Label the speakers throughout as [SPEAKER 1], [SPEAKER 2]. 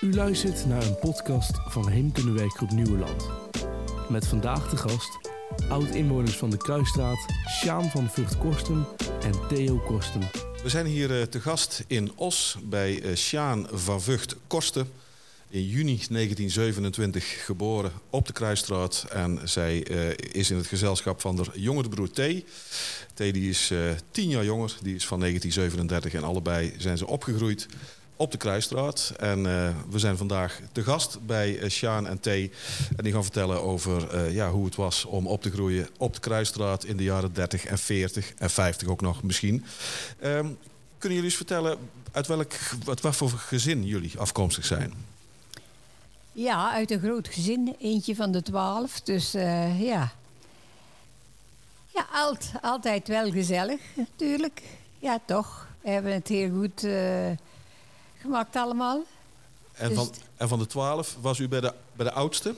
[SPEAKER 1] U luistert naar een podcast van Heemkunde Werkgroep Nieuweland. Met vandaag de gast, oud-inwoners van de Kruisstraat, Sjaan van Vught-Korsten en Theo Korsten.
[SPEAKER 2] We zijn hier eh, te gast in Os bij eh, Sjaan van Vught Korsten. In juni 1927 geboren op de Kruisstraat. En zij eh, is in het gezelschap van haar jongere broer T. T die is eh, tien jaar jonger, die is van 1937. En allebei zijn ze opgegroeid op de Kruisstraat. En eh, we zijn vandaag te gast bij eh, Sjaan en T. En die gaan vertellen over eh, ja, hoe het was om op te groeien op de Kruisstraat in de jaren 30 en 40 en 50 ook nog misschien. Ehm, kunnen jullie eens vertellen uit welk, uit wat voor gezin jullie afkomstig zijn?
[SPEAKER 3] Ja, uit een groot gezin. Eentje van de twaalf. Dus eh, ja. Ja, alt, altijd wel gezellig, natuurlijk. Ja, toch. We hebben het heel goed eh, gemaakt allemaal.
[SPEAKER 2] En
[SPEAKER 3] Dus
[SPEAKER 2] van,
[SPEAKER 3] het-
[SPEAKER 2] en van de twaalf was u bij de, bij de oudste,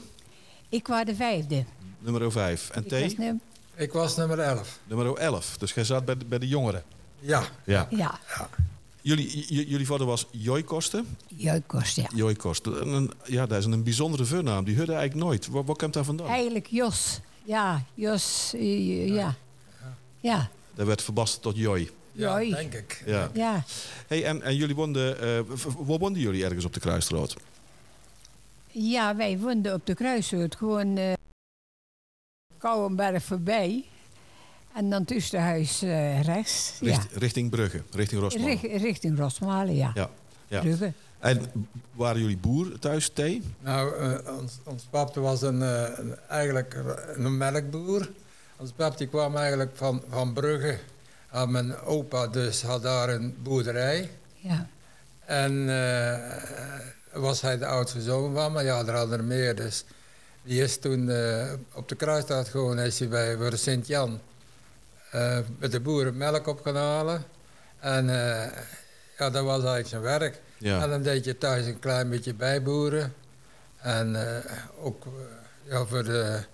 [SPEAKER 3] Ik was de vijfde.
[SPEAKER 2] nummer 5. En
[SPEAKER 3] Ik was
[SPEAKER 2] T,
[SPEAKER 3] nu-
[SPEAKER 4] Ik was nummer 11.
[SPEAKER 2] nummer 11. Dus jij zat bij de, bij de jongeren.
[SPEAKER 4] Ja.
[SPEAKER 2] Ja.
[SPEAKER 3] ja,
[SPEAKER 2] Jullie, j- j- jullie vader was Joy Kosten.
[SPEAKER 3] Juikost, ja.
[SPEAKER 2] Joy Kosten. En een- ja, dat is een bijzondere voornaam. Die hudde eigenlijk nooit. Wat, wat komt daar vandaan?
[SPEAKER 3] Eigenlijk Jos. Ja, Jos. eh, ja. Ja.
[SPEAKER 2] Dat werd verbasterd tot Joy.
[SPEAKER 4] Ja,
[SPEAKER 3] Joi.
[SPEAKER 4] denk ik.
[SPEAKER 2] Ja.
[SPEAKER 3] ja.
[SPEAKER 2] Hey, en, en jullie woonden, eh, v- v- waar woonden jullie ergens op de Kruisstraat?
[SPEAKER 3] Ja, wij woonden op de kruisrood. Gewoon eh Kouwenberg voorbij. En dan tussen de huis eh, rechts.
[SPEAKER 2] Richt- Richting Brugge, richting
[SPEAKER 3] ja.
[SPEAKER 2] Rosmalen.
[SPEAKER 3] Richt- richting Rosmalen, ja.
[SPEAKER 2] Ja, ja.
[SPEAKER 3] Brugge.
[SPEAKER 2] En waren jullie boer thuis, thee?
[SPEAKER 4] Nou, eh, ons, ons pap was een, eh, een- eigenlijk een melkboer. Ons pap die kwam eigenlijk van, van Brugge. En mijn opa dus had daar een boerderij.
[SPEAKER 3] Ja.
[SPEAKER 4] En eh, was hij de oudste zoon van, maar ja, er hadden er meer. Dus die is toen eh, op de kruisstraat gewoon is hij bij voor Sint-Jan eh, met de boeren melk op gaan halen. En eh, ja, dat was eigenlijk zijn werk.
[SPEAKER 2] Ja.
[SPEAKER 4] En dan deed je thuis een klein beetje bijboeren. En eh, ook eh, ja, voor de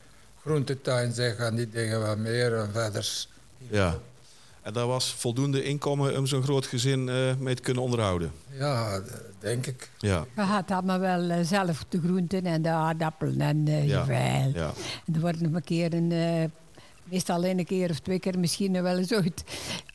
[SPEAKER 4] groentetuin zeg en die dingen wat meer en verder.
[SPEAKER 2] Ja. En daar was voldoende inkomen om zo'n groot gezin eh, mee te kunnen onderhouden.
[SPEAKER 4] Ja, d- denk ik.
[SPEAKER 2] Ja.
[SPEAKER 3] Je had allemaal wel eh, zelf de groenten en de aardappelen en eh
[SPEAKER 2] Ja.
[SPEAKER 3] jawel.
[SPEAKER 2] Ja.
[SPEAKER 3] En er wordt nog een keer een, eh, meestal in een keer of twee keer misschien wel eens ooit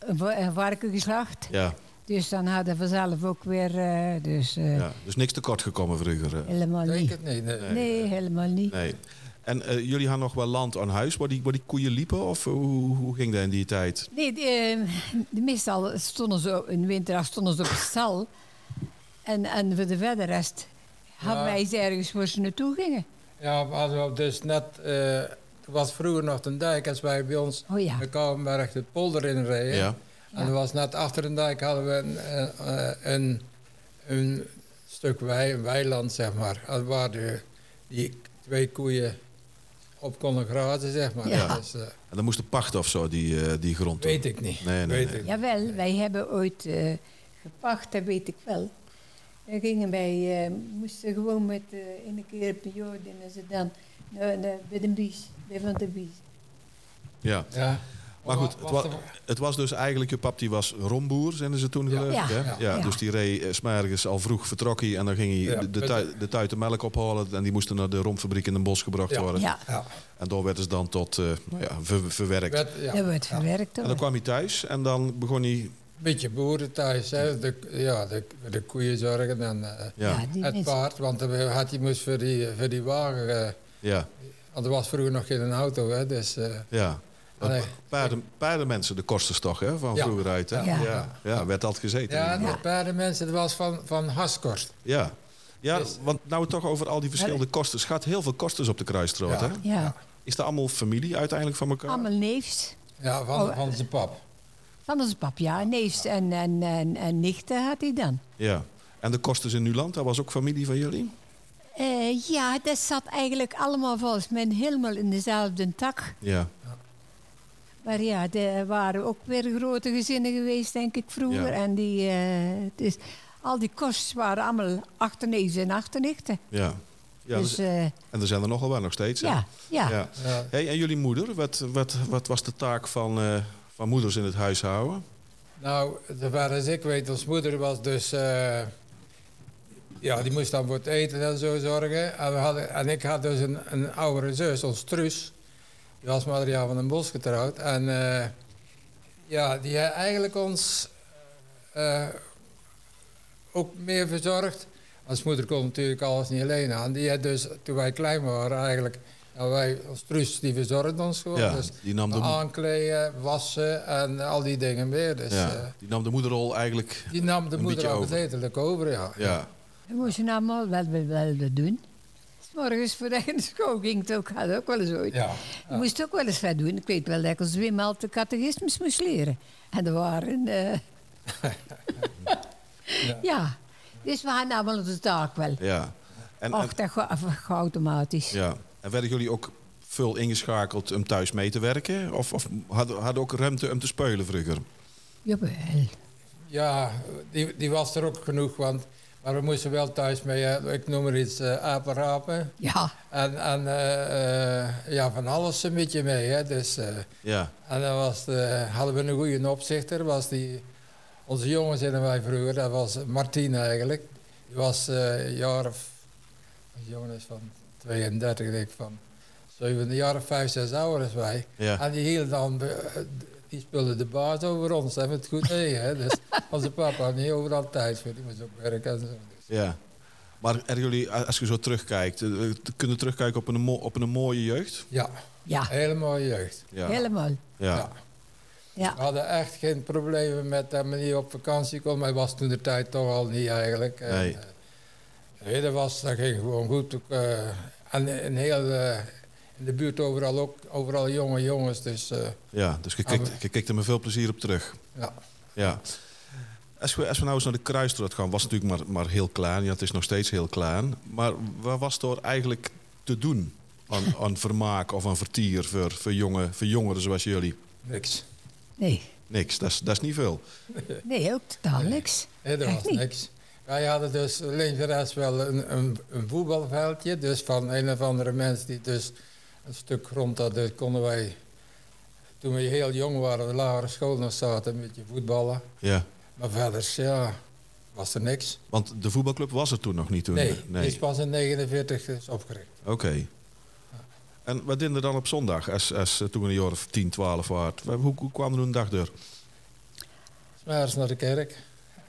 [SPEAKER 3] een wa- een varken geslacht.
[SPEAKER 2] Ja.
[SPEAKER 3] Dus dan hadden we zelf ook weer, eh, dus eh,
[SPEAKER 2] ja. Dus niks tekort gekomen vroeger. eh.
[SPEAKER 3] helemaal
[SPEAKER 4] Denk
[SPEAKER 3] Ah, niet.
[SPEAKER 4] het niet. nee.
[SPEAKER 3] Nee, helemaal niet.
[SPEAKER 2] Nee. En eh, jullie hadden nog wel land aan huis waar die, waar die koeien liepen? Of hoe, hoe ging dat in die tijd?
[SPEAKER 3] Nee, de, de- meestal stonden ze op- in de winter stonden ze op stal. En, en voor de verder rest hadden
[SPEAKER 4] Ja.
[SPEAKER 3] wij ze ergens waar ze naartoe gingen.
[SPEAKER 4] Ja, we hadden we dus net. eh, er was vroeger nog een dijk als wij bij ons
[SPEAKER 3] Oh ja.
[SPEAKER 4] in Kouwenberg de polder in reden.
[SPEAKER 2] Ja.
[SPEAKER 4] En er was net achter een dijk hadden we een, eh, eh, een, een stuk wei, een weiland, zeg maar. eh, Waar de, die twee koeien op konden grazen, zeg maar.
[SPEAKER 3] Ja.
[SPEAKER 4] Dus, eh,
[SPEAKER 2] En dan moesten pachten of zo, die, eh, die grond. toen.
[SPEAKER 4] weet ik niet.
[SPEAKER 2] Nee, nee, nee.
[SPEAKER 4] weet Ik. niet.
[SPEAKER 3] Jawel, wij hebben ooit eh, gepacht, dat weet ik wel. Dan gingen wij, eh, moesten gewoon met eh, in een keer een periode en ze dan naar, naar, bij de bies, bij van de bies.
[SPEAKER 2] Ja.
[SPEAKER 4] Ja.
[SPEAKER 2] Maar goed, het
[SPEAKER 4] Was
[SPEAKER 2] was,
[SPEAKER 4] er-
[SPEAKER 2] het was dus eigenlijk, je pap die was romboer, zijn ze toen
[SPEAKER 4] Ja.
[SPEAKER 2] gelukt.
[SPEAKER 3] Ja.
[SPEAKER 2] hè?
[SPEAKER 4] Ja.
[SPEAKER 2] Ja,
[SPEAKER 3] Ja.
[SPEAKER 2] Dus die reed eh, 's morgens al vroeg vertrok hij en dan ging hij
[SPEAKER 4] Ja.
[SPEAKER 2] de, de, tui- de tuiten melk ophalen. En die moesten naar de romfabriek in Den Bosch gebracht
[SPEAKER 4] Ja.
[SPEAKER 2] worden.
[SPEAKER 3] Ja,
[SPEAKER 4] ja.
[SPEAKER 2] En daar werd ze dan tot eh, nou ja, ver- verwerkt.
[SPEAKER 4] Werd, ja.
[SPEAKER 3] dat werd verwerkt
[SPEAKER 2] En dan
[SPEAKER 3] hoor.
[SPEAKER 2] kwam hij thuis en dan begon hij...
[SPEAKER 4] Beetje boeren thuis, hè. De, ja, de, de koeien zorgen en... eh,
[SPEAKER 2] Ja, ja.
[SPEAKER 3] die
[SPEAKER 4] Het
[SPEAKER 3] mensen-
[SPEAKER 4] paard, want hij had die moest voor die, voor die wagen. eh,
[SPEAKER 2] ja.
[SPEAKER 4] want er was vroeger nog geen auto, hè? Dus, eh,
[SPEAKER 2] Dat
[SPEAKER 4] Nee.
[SPEAKER 2] Paarden, paardenmensen, de kosters toch, hè, van
[SPEAKER 4] Ja.
[SPEAKER 2] vroeger uit. Hè?
[SPEAKER 3] Ja.
[SPEAKER 2] Ja. Ja, werd altijd gezeten.
[SPEAKER 4] ja, nou.
[SPEAKER 2] in ieder
[SPEAKER 4] de
[SPEAKER 2] geval.
[SPEAKER 4] paardenmensen, dat was van, van Haskort.
[SPEAKER 2] ja. Ja,
[SPEAKER 4] Dus-
[SPEAKER 2] want nou we toch over al die verschillende kosters. Gaat heel veel kosters op de kruisstraat,
[SPEAKER 4] Ja.
[SPEAKER 2] hè?
[SPEAKER 3] Ja,
[SPEAKER 2] Is dat allemaal familie uiteindelijk van elkaar?
[SPEAKER 3] allemaal neefs.
[SPEAKER 4] Ja, van,
[SPEAKER 3] Oh,
[SPEAKER 4] van zijn pap.
[SPEAKER 3] Van onze pap, ja, neefs en, en, en, en nichten had hij dan.
[SPEAKER 2] Ja. En de kosters in Nuland, dat was ook familie van jullie?
[SPEAKER 3] Eh, ja, dat zat eigenlijk allemaal volgens mij helemaal in dezelfde tak.
[SPEAKER 2] Ja.
[SPEAKER 3] Maar ja, er waren ook weer grote gezinnen geweest, denk ik, vroeger.
[SPEAKER 2] Ja.
[SPEAKER 3] En die, eh, dus, al die kosten waren allemaal achterneefs en achternichten.
[SPEAKER 2] Ja. ja
[SPEAKER 3] dus
[SPEAKER 2] dus-
[SPEAKER 3] eh,
[SPEAKER 2] en er zijn er nog wel nog steeds, hè?
[SPEAKER 3] ja, ja.
[SPEAKER 2] ja.
[SPEAKER 4] Ja.
[SPEAKER 2] Hey, en jullie moeder, wat, wat, wat was de taak van, eh, van moeders in het huishouden?
[SPEAKER 4] Nou, zover als ik weet, ons moeder was dus. eh, Ja, die moest dan voor het eten en zo zorgen. En, we hadden, en ik had dus een, een oudere zus, ons Truus. Die was met Adriaan van den Bos getrouwd. En eh, ja, die heeft eigenlijk ons eh, ook meer verzorgd. Als moeder kon natuurlijk alles niet alleen aan. Die heeft dus, toen wij klein waren eigenlijk... Nou, wij, ons Truus, die verzorgde ons gewoon.
[SPEAKER 2] Ja,
[SPEAKER 4] dus
[SPEAKER 2] die nam de mo-
[SPEAKER 4] aankleden, wassen en al die dingen meer. Dus, eh,
[SPEAKER 2] Ja, die nam de moederrol eigenlijk.
[SPEAKER 4] die nam de
[SPEAKER 2] Een
[SPEAKER 4] moeder
[SPEAKER 2] beetje
[SPEAKER 4] ook het
[SPEAKER 2] over.
[SPEAKER 4] letterlijk over, ja.
[SPEAKER 2] Ja,
[SPEAKER 3] We moesten allemaal wel, wel, wel doen. 's Morgens voor de school ging het ook, had ook wel eens ooit.
[SPEAKER 4] Ja.
[SPEAKER 3] Je moest ook wel eens wat doen. Ik weet wel dat ik al tweemaal de catechismus moest leren. En er waren... eh, ja. Dus we hadden allemaal onze taak wel.
[SPEAKER 2] ja. En, en,
[SPEAKER 3] Och, dat gaat gaat automatisch.
[SPEAKER 2] ja. en werden jullie ook veel ingeschakeld om thuis mee te werken? Of, of hadden, hadden ook ruimte om te spelen vroeger?
[SPEAKER 3] Jawel.
[SPEAKER 4] Ja, die, die was er ook genoeg, want, maar we moesten wel thuis mee, eh, ik noem maar iets, eh apenrapen.
[SPEAKER 3] Ja.
[SPEAKER 4] En, en eh, eh, ja, van alles een beetje mee. Hè. Dus, eh,
[SPEAKER 2] Ja,
[SPEAKER 4] en dan was de, hadden we een goede opzichter. Was die, onze jongens in wij vroeger, dat was Martien eigenlijk. Die was eh, een jaar of, een jongen is van 32, denk ik, van 7, een jaar of 5, 6 ouder is wij.
[SPEAKER 2] ja.
[SPEAKER 4] En die hield dan, eh, die speelde de baas over ons, hè, met goed mee. Hè. Dus onze papa had niet overal tijd voor, die moest ook werken en zo. Dus
[SPEAKER 2] ja. Maar er jullie, als je zo terugkijkt, eh, kunnen terugkijken op een, mo- op een mooie jeugd?
[SPEAKER 4] ja,
[SPEAKER 3] Ja,
[SPEAKER 4] hele mooie jeugd.
[SPEAKER 2] Ja. Ah.
[SPEAKER 3] helemaal.
[SPEAKER 2] Ah. ja.
[SPEAKER 3] Ja.
[SPEAKER 4] We hadden echt geen problemen met dat meneer op vakantie kon, maar hij was toen de tijd toch al niet eigenlijk. En,
[SPEAKER 2] Nee.
[SPEAKER 4] eh, nee, dat, was, dat ging gewoon goed. Ook, eh, en in, heel, eh, in de buurt overal ook, overal jonge jongens, dus eh,
[SPEAKER 2] Ja, dus je kijkt, je kijkt er met veel plezier op terug.
[SPEAKER 4] ja.
[SPEAKER 2] Ja. Als we, als we nou eens naar de kruisstraat gaan, was het natuurlijk maar, maar heel klein. Ja, het is nog steeds heel klein. Maar wat was er eigenlijk te doen aan, aan vermaak of aan vertier voor, voor, jongen, voor jongeren zoals jullie?
[SPEAKER 4] Niks.
[SPEAKER 3] Nee.
[SPEAKER 2] Niks, dat is, dat is niet veel.
[SPEAKER 3] Nee, ook totaal niks.
[SPEAKER 4] Nee, dat
[SPEAKER 3] Echt
[SPEAKER 4] was
[SPEAKER 3] niet?
[SPEAKER 4] niks. Wij hadden dus links en rechts wel een, een, een voetbalveldje. Dus van een of andere mens die dus een stuk grond had. Dus konden wij, toen we heel jong waren, de lagere school nog zaten, een beetje voetballen.
[SPEAKER 2] Ja.
[SPEAKER 4] Maar verder, ja, was er niks.
[SPEAKER 2] Want de voetbalclub was er toen nog niet. Toen, eh,
[SPEAKER 4] Nee, die is pas in 49 is opgericht.
[SPEAKER 2] Oké. En wat deden er dan op zondag, als, als, eh, toen we een jaar of 10, 12 waren? Hoe, hoe kwam er een dag door?
[SPEAKER 4] Smaars naar de kerk.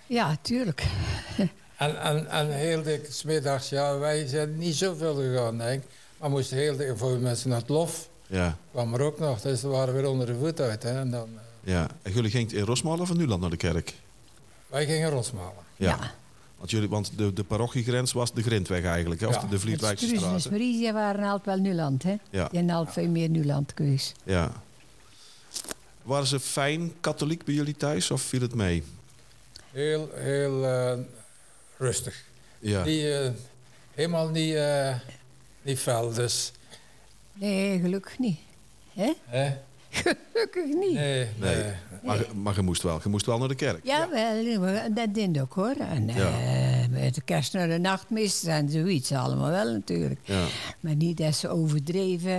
[SPEAKER 3] Ja, tuurlijk.
[SPEAKER 4] En, en, en heel dik, smiddags, ja, wij zijn niet zoveel gegaan, denk ik. Maar moesten heel dik, voor mensen naar het lof,
[SPEAKER 2] Ja.
[SPEAKER 4] kwam er ook nog. Dus we waren weer onder de voet uit. Hè. En dan, eh,
[SPEAKER 2] ja. En jullie gingen in Rosmalen of in Nuland naar de kerk?
[SPEAKER 4] wij gingen rosmalen.
[SPEAKER 3] Ja.
[SPEAKER 2] Want, jullie, want de, de parochiegrens was de Grindweg eigenlijk, hè? of
[SPEAKER 4] Ja.
[SPEAKER 2] de, de
[SPEAKER 3] Het
[SPEAKER 2] Vlietwijkse
[SPEAKER 3] Struisen en
[SPEAKER 2] straat. hè?
[SPEAKER 3] Smerisia waren altijd wel Nuland, hè?
[SPEAKER 2] Ja.
[SPEAKER 3] Die zijn altijd veel meer Nuland geweest.
[SPEAKER 2] ja. Waren ze fijn katholiek bij jullie thuis of viel het mee?
[SPEAKER 4] Heel, heel eh, rustig.
[SPEAKER 2] Ja,
[SPEAKER 4] Die, eh, helemaal niet, eh, niet fel, dus.
[SPEAKER 3] Nee, gelukkig niet. Hè?
[SPEAKER 4] Hè?
[SPEAKER 3] Gelukkig niet.
[SPEAKER 4] Nee,
[SPEAKER 2] Nee.
[SPEAKER 4] nee.
[SPEAKER 2] maar, maar je, moest wel, je moest wel naar de kerk.
[SPEAKER 3] Jawel, eh, we- dat deed ook hoor. En
[SPEAKER 2] Ja.
[SPEAKER 3] eh, met de kerst naar de nachtmis en zoiets allemaal wel natuurlijk.
[SPEAKER 2] Ja.
[SPEAKER 3] Maar niet dat ze overdreven.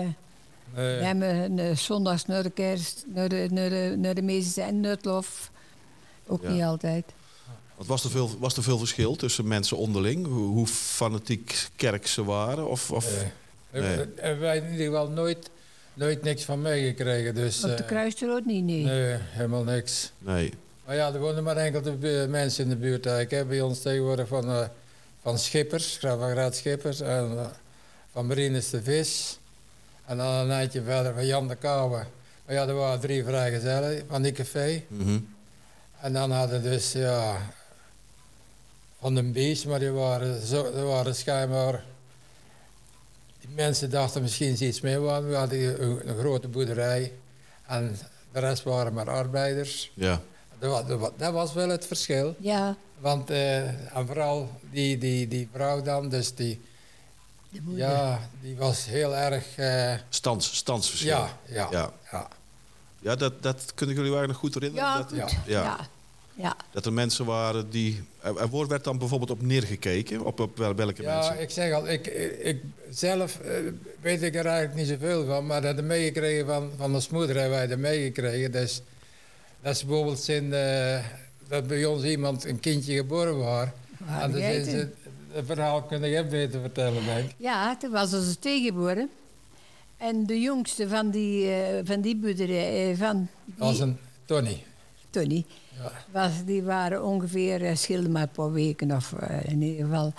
[SPEAKER 4] nee.
[SPEAKER 3] We hebben eh, zondags naar de kerst, naar de, naar de, naar de mis en naar het lof. Ook
[SPEAKER 2] Ja.
[SPEAKER 3] niet altijd.
[SPEAKER 2] Want was er, veel, was er veel verschil tussen mensen onderling? Hoe, hoe fanatiek kerk ze waren? Of, of,
[SPEAKER 4] Nee.
[SPEAKER 2] Nee.
[SPEAKER 4] Hebben- Hebben wij in ieder geval nooit, nooit niks van meegekregen. Dus,
[SPEAKER 3] Op de
[SPEAKER 4] eh,
[SPEAKER 3] kruisrood niet, nee.
[SPEAKER 4] Nee, helemaal niks.
[SPEAKER 2] nee.
[SPEAKER 4] Maar ja, er wonen maar enkele bu- mensen in de buurt. Ik heb bij ons tegenwoordig van, eh, van Schippers, Graaf van Graat Schippers, en eh, van Marines de Vis. En dan een eindje verder van Jan de Kouwe. Maar ja, er waren drie vrijgezellen van die café.
[SPEAKER 2] Mhm.
[SPEAKER 4] En dan hadden dus, ja, van een beest, maar die waren, zo, die waren schijnbaar. Die mensen dachten misschien ze iets meer, want we hadden een, een grote boerderij en de rest waren maar arbeiders.
[SPEAKER 2] ja.
[SPEAKER 4] Dat was, dat wa- dat was wel het verschil.
[SPEAKER 3] Ja,
[SPEAKER 4] Want, eh, en vooral die, die, die vrouw dan, dus die,
[SPEAKER 3] de moeder.
[SPEAKER 4] ja, die was heel erg, eh,
[SPEAKER 2] Stands, standsverschil.
[SPEAKER 4] ja, ja,
[SPEAKER 2] Ja.
[SPEAKER 4] ja,
[SPEAKER 2] Ja, dat, dat kunnen jullie eigenlijk nog goed herinneren.
[SPEAKER 3] Ja,
[SPEAKER 2] dat,
[SPEAKER 3] goed.
[SPEAKER 4] ja.
[SPEAKER 2] Ja.
[SPEAKER 3] Ja. Ja.
[SPEAKER 2] dat er mensen waren die... Er er wordt- werd dan bijvoorbeeld op neergekeken? Op, op wel- welke
[SPEAKER 4] Ja,
[SPEAKER 2] mensen?
[SPEAKER 4] ik zeg al, ik, ik ik zelf eh, weet ik er eigenlijk niet zoveel van, maar dat hebben meegekregen van, van ons moeder hebben wij dat meegekregen. Dus, dat is bijvoorbeeld in, eh, dat bij ons iemand een kindje geboren was.
[SPEAKER 3] Waar
[SPEAKER 4] En dan
[SPEAKER 3] jij
[SPEAKER 4] zijn ze, Het verhaal kun jij beter vertellen, denk ik.
[SPEAKER 3] Ja, toen was onze tegenwoordig. En de jongste van die, eh, van die boerderij, eh, van die,
[SPEAKER 4] Als een Tony.
[SPEAKER 3] Tony,
[SPEAKER 4] Ja.
[SPEAKER 3] was, die waren ongeveer, eh, scheelde maar een paar weken of eh, in ieder geval.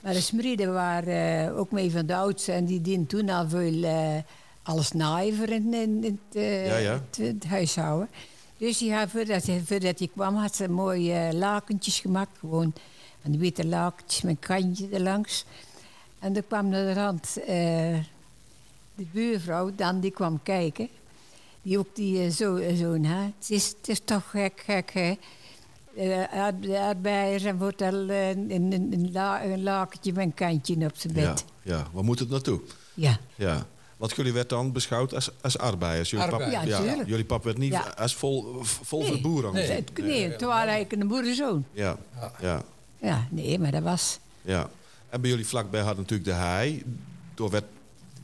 [SPEAKER 3] Maar de smrieden waren eh, ook mee van de oudste en die dienden toen al veel eh, als naaiver in, in, in het, eh,
[SPEAKER 2] Ja, ja.
[SPEAKER 3] het, het huishouden. Dus die had, voordat, hij- voordat hij kwam had ze mooie eh, lakentjes gemaakt, gewoon van die witte lakentjes met een kantje erlangs. En er kwam naar de rand eh, de buurvrouw, dan die kwam kijken. Die ook die eh, zo, eh, zoon, hè. Het is, het is toch gek, gek, hè. Eh, aard- de arbeider en wordt al eh, een, een, een, la- een lakentje met een kantje op zijn
[SPEAKER 2] Ja,
[SPEAKER 3] bed.
[SPEAKER 2] ja, waar moet het naartoe?
[SPEAKER 3] Ja.
[SPEAKER 2] Ja. Want jullie werd dan beschouwd als, als arbeiders. Jullie
[SPEAKER 4] Arbeid.
[SPEAKER 2] Pap,
[SPEAKER 3] Ja, tuurlijk.
[SPEAKER 2] jullie pap werd niet
[SPEAKER 3] Ja.
[SPEAKER 2] als vol, vol
[SPEAKER 3] Nee.
[SPEAKER 2] voor boeren.
[SPEAKER 4] Nee.
[SPEAKER 2] gezien.
[SPEAKER 3] Dus Het, nee, het was eigenlijk een boerenzoon.
[SPEAKER 2] Ja,
[SPEAKER 4] Ja.
[SPEAKER 2] ja,
[SPEAKER 3] Ja, nee, maar dat was...
[SPEAKER 2] ja. En bij jullie vlakbij had natuurlijk de hei. Door werd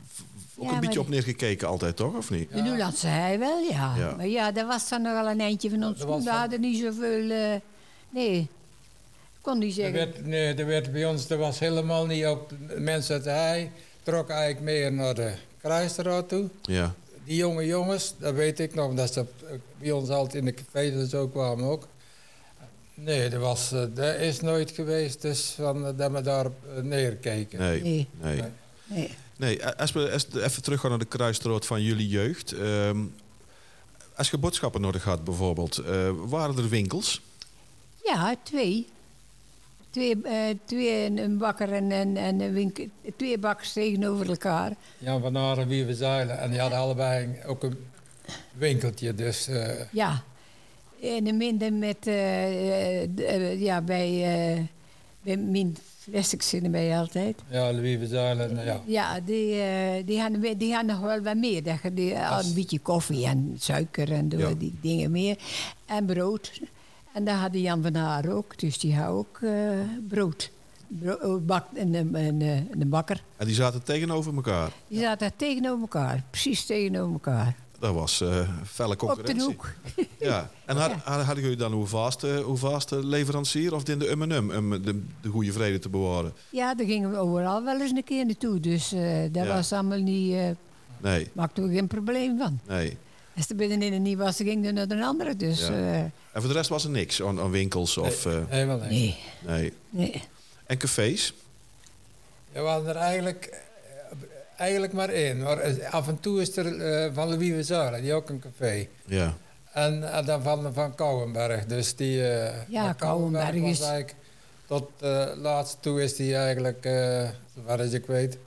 [SPEAKER 2] v- ook
[SPEAKER 3] Ja,
[SPEAKER 2] een beetje
[SPEAKER 3] maar-
[SPEAKER 2] op neergekeken altijd, toch? Of niet?
[SPEAKER 3] De Nulandse hei wel, ja.
[SPEAKER 2] Ja.
[SPEAKER 3] Maar ja, dat was dan nogal een eindje van ons. toen.
[SPEAKER 4] dat was
[SPEAKER 3] We
[SPEAKER 4] van-
[SPEAKER 3] hadden niet zoveel... eh nee, kon niet
[SPEAKER 4] Er
[SPEAKER 3] zeggen.
[SPEAKER 4] werd, nee, er werd bij ons, er was helemaal niet op. Mensen uit de hei trok eigenlijk meer naar de kruisstraat toe.
[SPEAKER 2] Ja,
[SPEAKER 4] Die jonge jongens, dat weet ik nog, omdat ze op- eh, bij ons altijd in de cafés en zo kwamen ook. Nee, dat, was, eh, dat is nooit geweest, dus van, eh, dat we daarop eh, neerkeken.
[SPEAKER 2] nee.
[SPEAKER 3] Nee.
[SPEAKER 2] nee.
[SPEAKER 4] Nee.
[SPEAKER 3] Nee.
[SPEAKER 2] Nee, als we als we even teruggaan naar de kruisrood van jullie jeugd. ehm, als je boodschappen nodig had bijvoorbeeld, eh, waren er winkels?
[SPEAKER 3] Ja, twee. Twee, eh, twee een- een bakker en, en, en een winkel. Twee bakkers tegenover elkaar.
[SPEAKER 4] Jan van Aren, Wieven Zeilen. En die hadden allebei een- ook een winkeltje, dus eh,
[SPEAKER 3] Ja. En een minder met, eh, eh, d- eh, ja, bij, eh, bij mijn plastic zitten bij altijd.
[SPEAKER 4] ja, Wieven Zeilen, ja.
[SPEAKER 3] Ja, die, eh, die, hadden, we- die hadden nog wel wat meer. Dat je die, ah, een beetje koffie en suiker en door
[SPEAKER 2] Ja.
[SPEAKER 3] die dingen meer. En brood. En daar had Jan van Haar ook, dus die had ook eh, brood. Bro- oh, bak, en, een- en, eh, en een bakker.
[SPEAKER 2] En die zaten tegenover elkaar.
[SPEAKER 3] Die zaten daar tegenover elkaar, precies tegenover elkaar.
[SPEAKER 2] Dat was eh felle
[SPEAKER 3] Op de
[SPEAKER 2] concurrentie.
[SPEAKER 3] hoek.
[SPEAKER 2] Ja. En had, had- hadden jullie dan eh, uw vaste, uw vaste leverancier of in de M&M om de, de goede vrede te bewaren?
[SPEAKER 3] Ja, daar gingen we overal wel eens een keer naartoe. Dus eh dat
[SPEAKER 2] Ja.
[SPEAKER 3] was allemaal niet, eh
[SPEAKER 2] Nee,
[SPEAKER 3] maakten we geen probleem van.
[SPEAKER 2] nee.
[SPEAKER 3] Als er binnen een niet was, dan ging er naar een andere. Dus
[SPEAKER 2] Ja.
[SPEAKER 3] eh,
[SPEAKER 2] En voor de rest was er niks aan, aan winkels of... eh,
[SPEAKER 4] Helemaal niet.
[SPEAKER 3] nee,
[SPEAKER 2] nee.
[SPEAKER 3] nee.
[SPEAKER 2] En cafés?
[SPEAKER 4] Ja, we hadden er eigenlijk, eh, eigenlijk maar één. Maar eh, af en toe is er eh, van Louis Vezara, die ook een café.
[SPEAKER 2] Ja.
[SPEAKER 4] En, en dan van, van Kouwenberg. Dus die, eh,
[SPEAKER 3] Ja,
[SPEAKER 4] van
[SPEAKER 3] Kouwenberg
[SPEAKER 4] was
[SPEAKER 3] is-
[SPEAKER 4] eigenlijk tot eh laatst toe is die eigenlijk, eh zover als ik weet,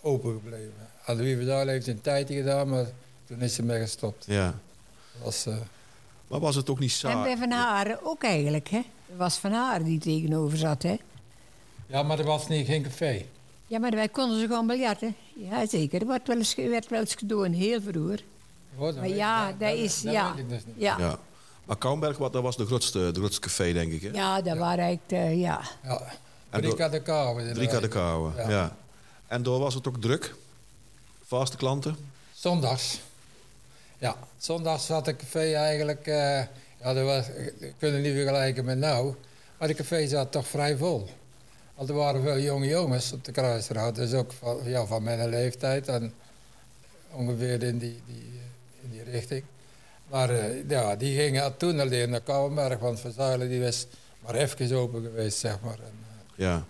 [SPEAKER 4] open gebleven. En Louis Vezara heeft een tijdje gedaan, maar toen is ze mee gestopt.
[SPEAKER 2] ja.
[SPEAKER 4] Dat was, eh,
[SPEAKER 2] Maar was het ook niet
[SPEAKER 3] En
[SPEAKER 2] saai?
[SPEAKER 3] bij Van Haren ook eigenlijk, hè? Het was Van Haren die tegenover zat, hè?
[SPEAKER 4] ja, maar er was niet, geen café.
[SPEAKER 3] Ja, maar wij konden ze gewoon biljarten. Ja, zeker. Er werd wel eens, werd wel eens gedaan, heel vroeger.
[SPEAKER 4] Hoor, dat
[SPEAKER 3] Maar
[SPEAKER 4] weet ik
[SPEAKER 3] ja,
[SPEAKER 4] niet.
[SPEAKER 3] dat is-
[SPEAKER 4] dat
[SPEAKER 3] ja.
[SPEAKER 4] weet ik dus niet.
[SPEAKER 3] Ja, ja,
[SPEAKER 2] Ja. Maar Kouwenberg, wat- dat was de grootste, de grootste café, denk ik. Hè?
[SPEAKER 3] dat waren eigenlijk, eh, ja.
[SPEAKER 4] Ja.
[SPEAKER 2] En
[SPEAKER 4] Drie
[SPEAKER 2] door-
[SPEAKER 4] keer de kou.
[SPEAKER 2] Drie keer de kouwe, ja.
[SPEAKER 4] Ja.
[SPEAKER 2] En door was het ook druk? Vaste klanten?
[SPEAKER 4] Zondags. Ja, zondags had de café eigenlijk. eh, ja, dat was, ik kan het niet vergelijken met nou. Maar de café zat toch vrij vol. Want er waren veel jonge jongens op de kruisraad. Dus ook van, ja, van mijn leeftijd en ongeveer in die, die, eh, in die richting. Maar eh, ja, die gingen toen alleen naar Kouwenberg. Want Van Zuilen die was maar even open geweest, zeg maar. En, eh,
[SPEAKER 2] Ja.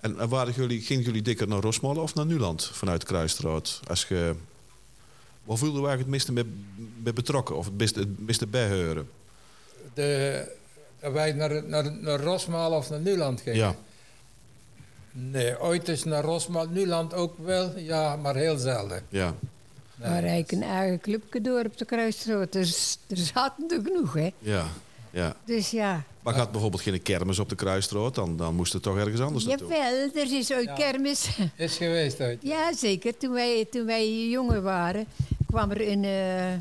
[SPEAKER 2] En en waren jullie, gingen jullie dikker naar Rosmolen of naar Nuland vanuit de Kruisstraat? Als je, waar voelde je eigenlijk het meeste mee, mee betrokken of het meeste, het meeste bijheuren?
[SPEAKER 4] eh, de, dat wij naar, naar, naar Rosmaal of naar Nuland gingen.
[SPEAKER 2] Ja.
[SPEAKER 4] Nee, ooit is naar Rosmaal, Nuland ook wel, ja, maar heel zelden.
[SPEAKER 2] Ja,
[SPEAKER 4] Nee.
[SPEAKER 3] Maar eigenlijk een eigen clubje door op de Kruisstraat. Er, s- er zaten er genoeg, hè?
[SPEAKER 2] ja, ja.
[SPEAKER 3] Dus ja.
[SPEAKER 2] Maar gaat bijvoorbeeld geen kermis op de Kruisstraat, dan, dan moest het toch ergens anders naartoe.
[SPEAKER 3] Jawel, er is ooit
[SPEAKER 4] Ja.
[SPEAKER 3] kermis.
[SPEAKER 4] Is geweest ooit.
[SPEAKER 3] Ja, zeker. Toen wij, toen wij jonger waren, kwam er een, eh,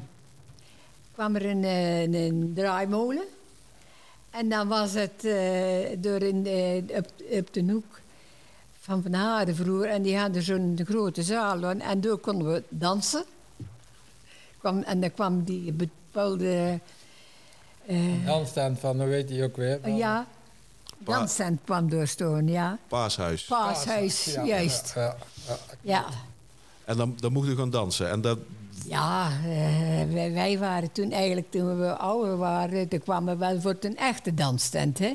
[SPEAKER 3] kwam er een, eh, een, een draaimolen. En dan was het eh, door een, eh, op, op de hoek van Van Haren vroeger. En die hadden zo'n grote zaal. En, en door konden we dansen. Kwam, en dan kwam die bepaalde... eh,
[SPEAKER 4] Handstand van, hoe weet hij ook weer?
[SPEAKER 3] ja,
[SPEAKER 2] Pa-
[SPEAKER 3] Danscent kwam doorstoon, ja.
[SPEAKER 2] Paashuis.
[SPEAKER 3] Paashuis,
[SPEAKER 4] Ja,
[SPEAKER 3] juist.
[SPEAKER 4] ja, ja,
[SPEAKER 3] Ja,
[SPEAKER 2] En dan, dan mocht u gaan dansen. En dat,
[SPEAKER 3] ja eh, wij, wij waren toen eigenlijk, toen we ouder waren, toen kwamen we wel voor een echte danstent, hè.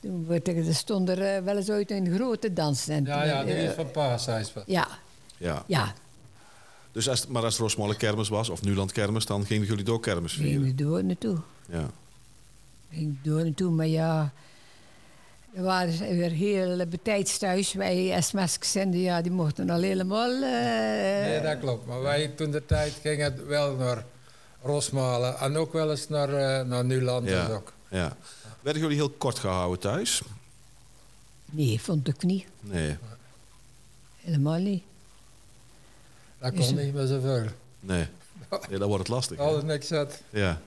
[SPEAKER 3] Toen werd er, er stond er eh, wel eens ooit een grote danstent.
[SPEAKER 4] ja, ja, die
[SPEAKER 3] Eh,
[SPEAKER 4] is van Paashuis. wat.
[SPEAKER 3] ja,
[SPEAKER 2] ja.
[SPEAKER 3] ja.
[SPEAKER 2] Dus als, maar als het Rosmalle kermis was, of Nuland kermis, dan gingen jullie door kermis
[SPEAKER 3] Gingen
[SPEAKER 2] vieren.
[SPEAKER 3] we door naartoe.
[SPEAKER 2] Ja.
[SPEAKER 3] ging door en toe, maar ja. We waren ze weer heel betijds thuis. Wij SMS-gezenden, ja, die mochten al helemaal. eh,
[SPEAKER 4] Nee, dat klopt. Maar wij toen de tijd gingen het wel naar Rosmalen en ook wel eens naar, eh, naar Nuland.
[SPEAKER 2] Ja.
[SPEAKER 4] dus ook.
[SPEAKER 2] ja. Werden jullie heel kort gehouden thuis?
[SPEAKER 3] nee, vond ik niet.
[SPEAKER 2] Nee.
[SPEAKER 3] Helemaal niet.
[SPEAKER 4] Dat
[SPEAKER 3] Is
[SPEAKER 4] kon
[SPEAKER 3] het-
[SPEAKER 4] niet meer zoveel.
[SPEAKER 2] Nee. nee dan wordt het lastig. hè?
[SPEAKER 4] Alles niks uit.
[SPEAKER 2] Ja.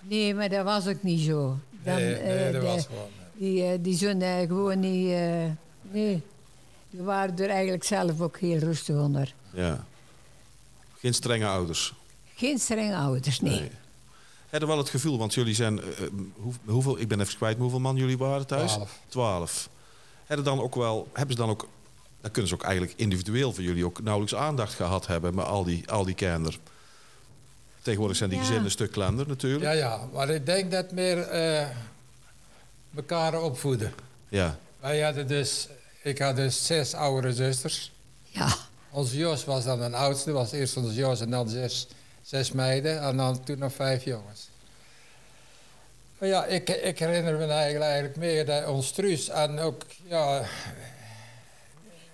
[SPEAKER 3] Nee, maar dat was ook niet zo. Dan,
[SPEAKER 4] Nee, nee,
[SPEAKER 3] eh,
[SPEAKER 4] dat
[SPEAKER 3] de-
[SPEAKER 4] was gewoon.
[SPEAKER 3] Die, eh, die zoon eh, gewoon niet. eh, nee. We waren er eigenlijk zelf ook heel rustig onder.
[SPEAKER 2] ja. Geen strenge ouders.
[SPEAKER 3] Geen strenge ouders, nee.
[SPEAKER 2] Hadden wel het gevoel, want jullie zijn, eh, eh, hoe- hoeveel, ik ben even kwijt hoeveel man jullie waren thuis?
[SPEAKER 4] Twaalf.
[SPEAKER 2] Twaalf. Hadden dan ook wel, hebben ze dan ook, dan kunnen ze ook eigenlijk individueel voor jullie ook nauwelijks aandacht gehad hebben met al die, al die kinderen. Tegenwoordig zijn die
[SPEAKER 3] Ja.
[SPEAKER 2] gezinnen een stuk kleiner natuurlijk.
[SPEAKER 4] Ja,
[SPEAKER 2] Ja.
[SPEAKER 4] ja, maar ik denk dat meer eh, elkaar opvoeden.
[SPEAKER 2] Ja.
[SPEAKER 4] Wij hadden dus, ik had dus zes oudere zusters.
[SPEAKER 3] Ja,
[SPEAKER 4] Onze Jos was dan een oudste, was eerst onze Jos en dan zes, zes meiden en dan toen nog vijf jongens. Maar ja, ik, ik herinner me eigenlijk, eigenlijk meer dat ons truus en ook ja,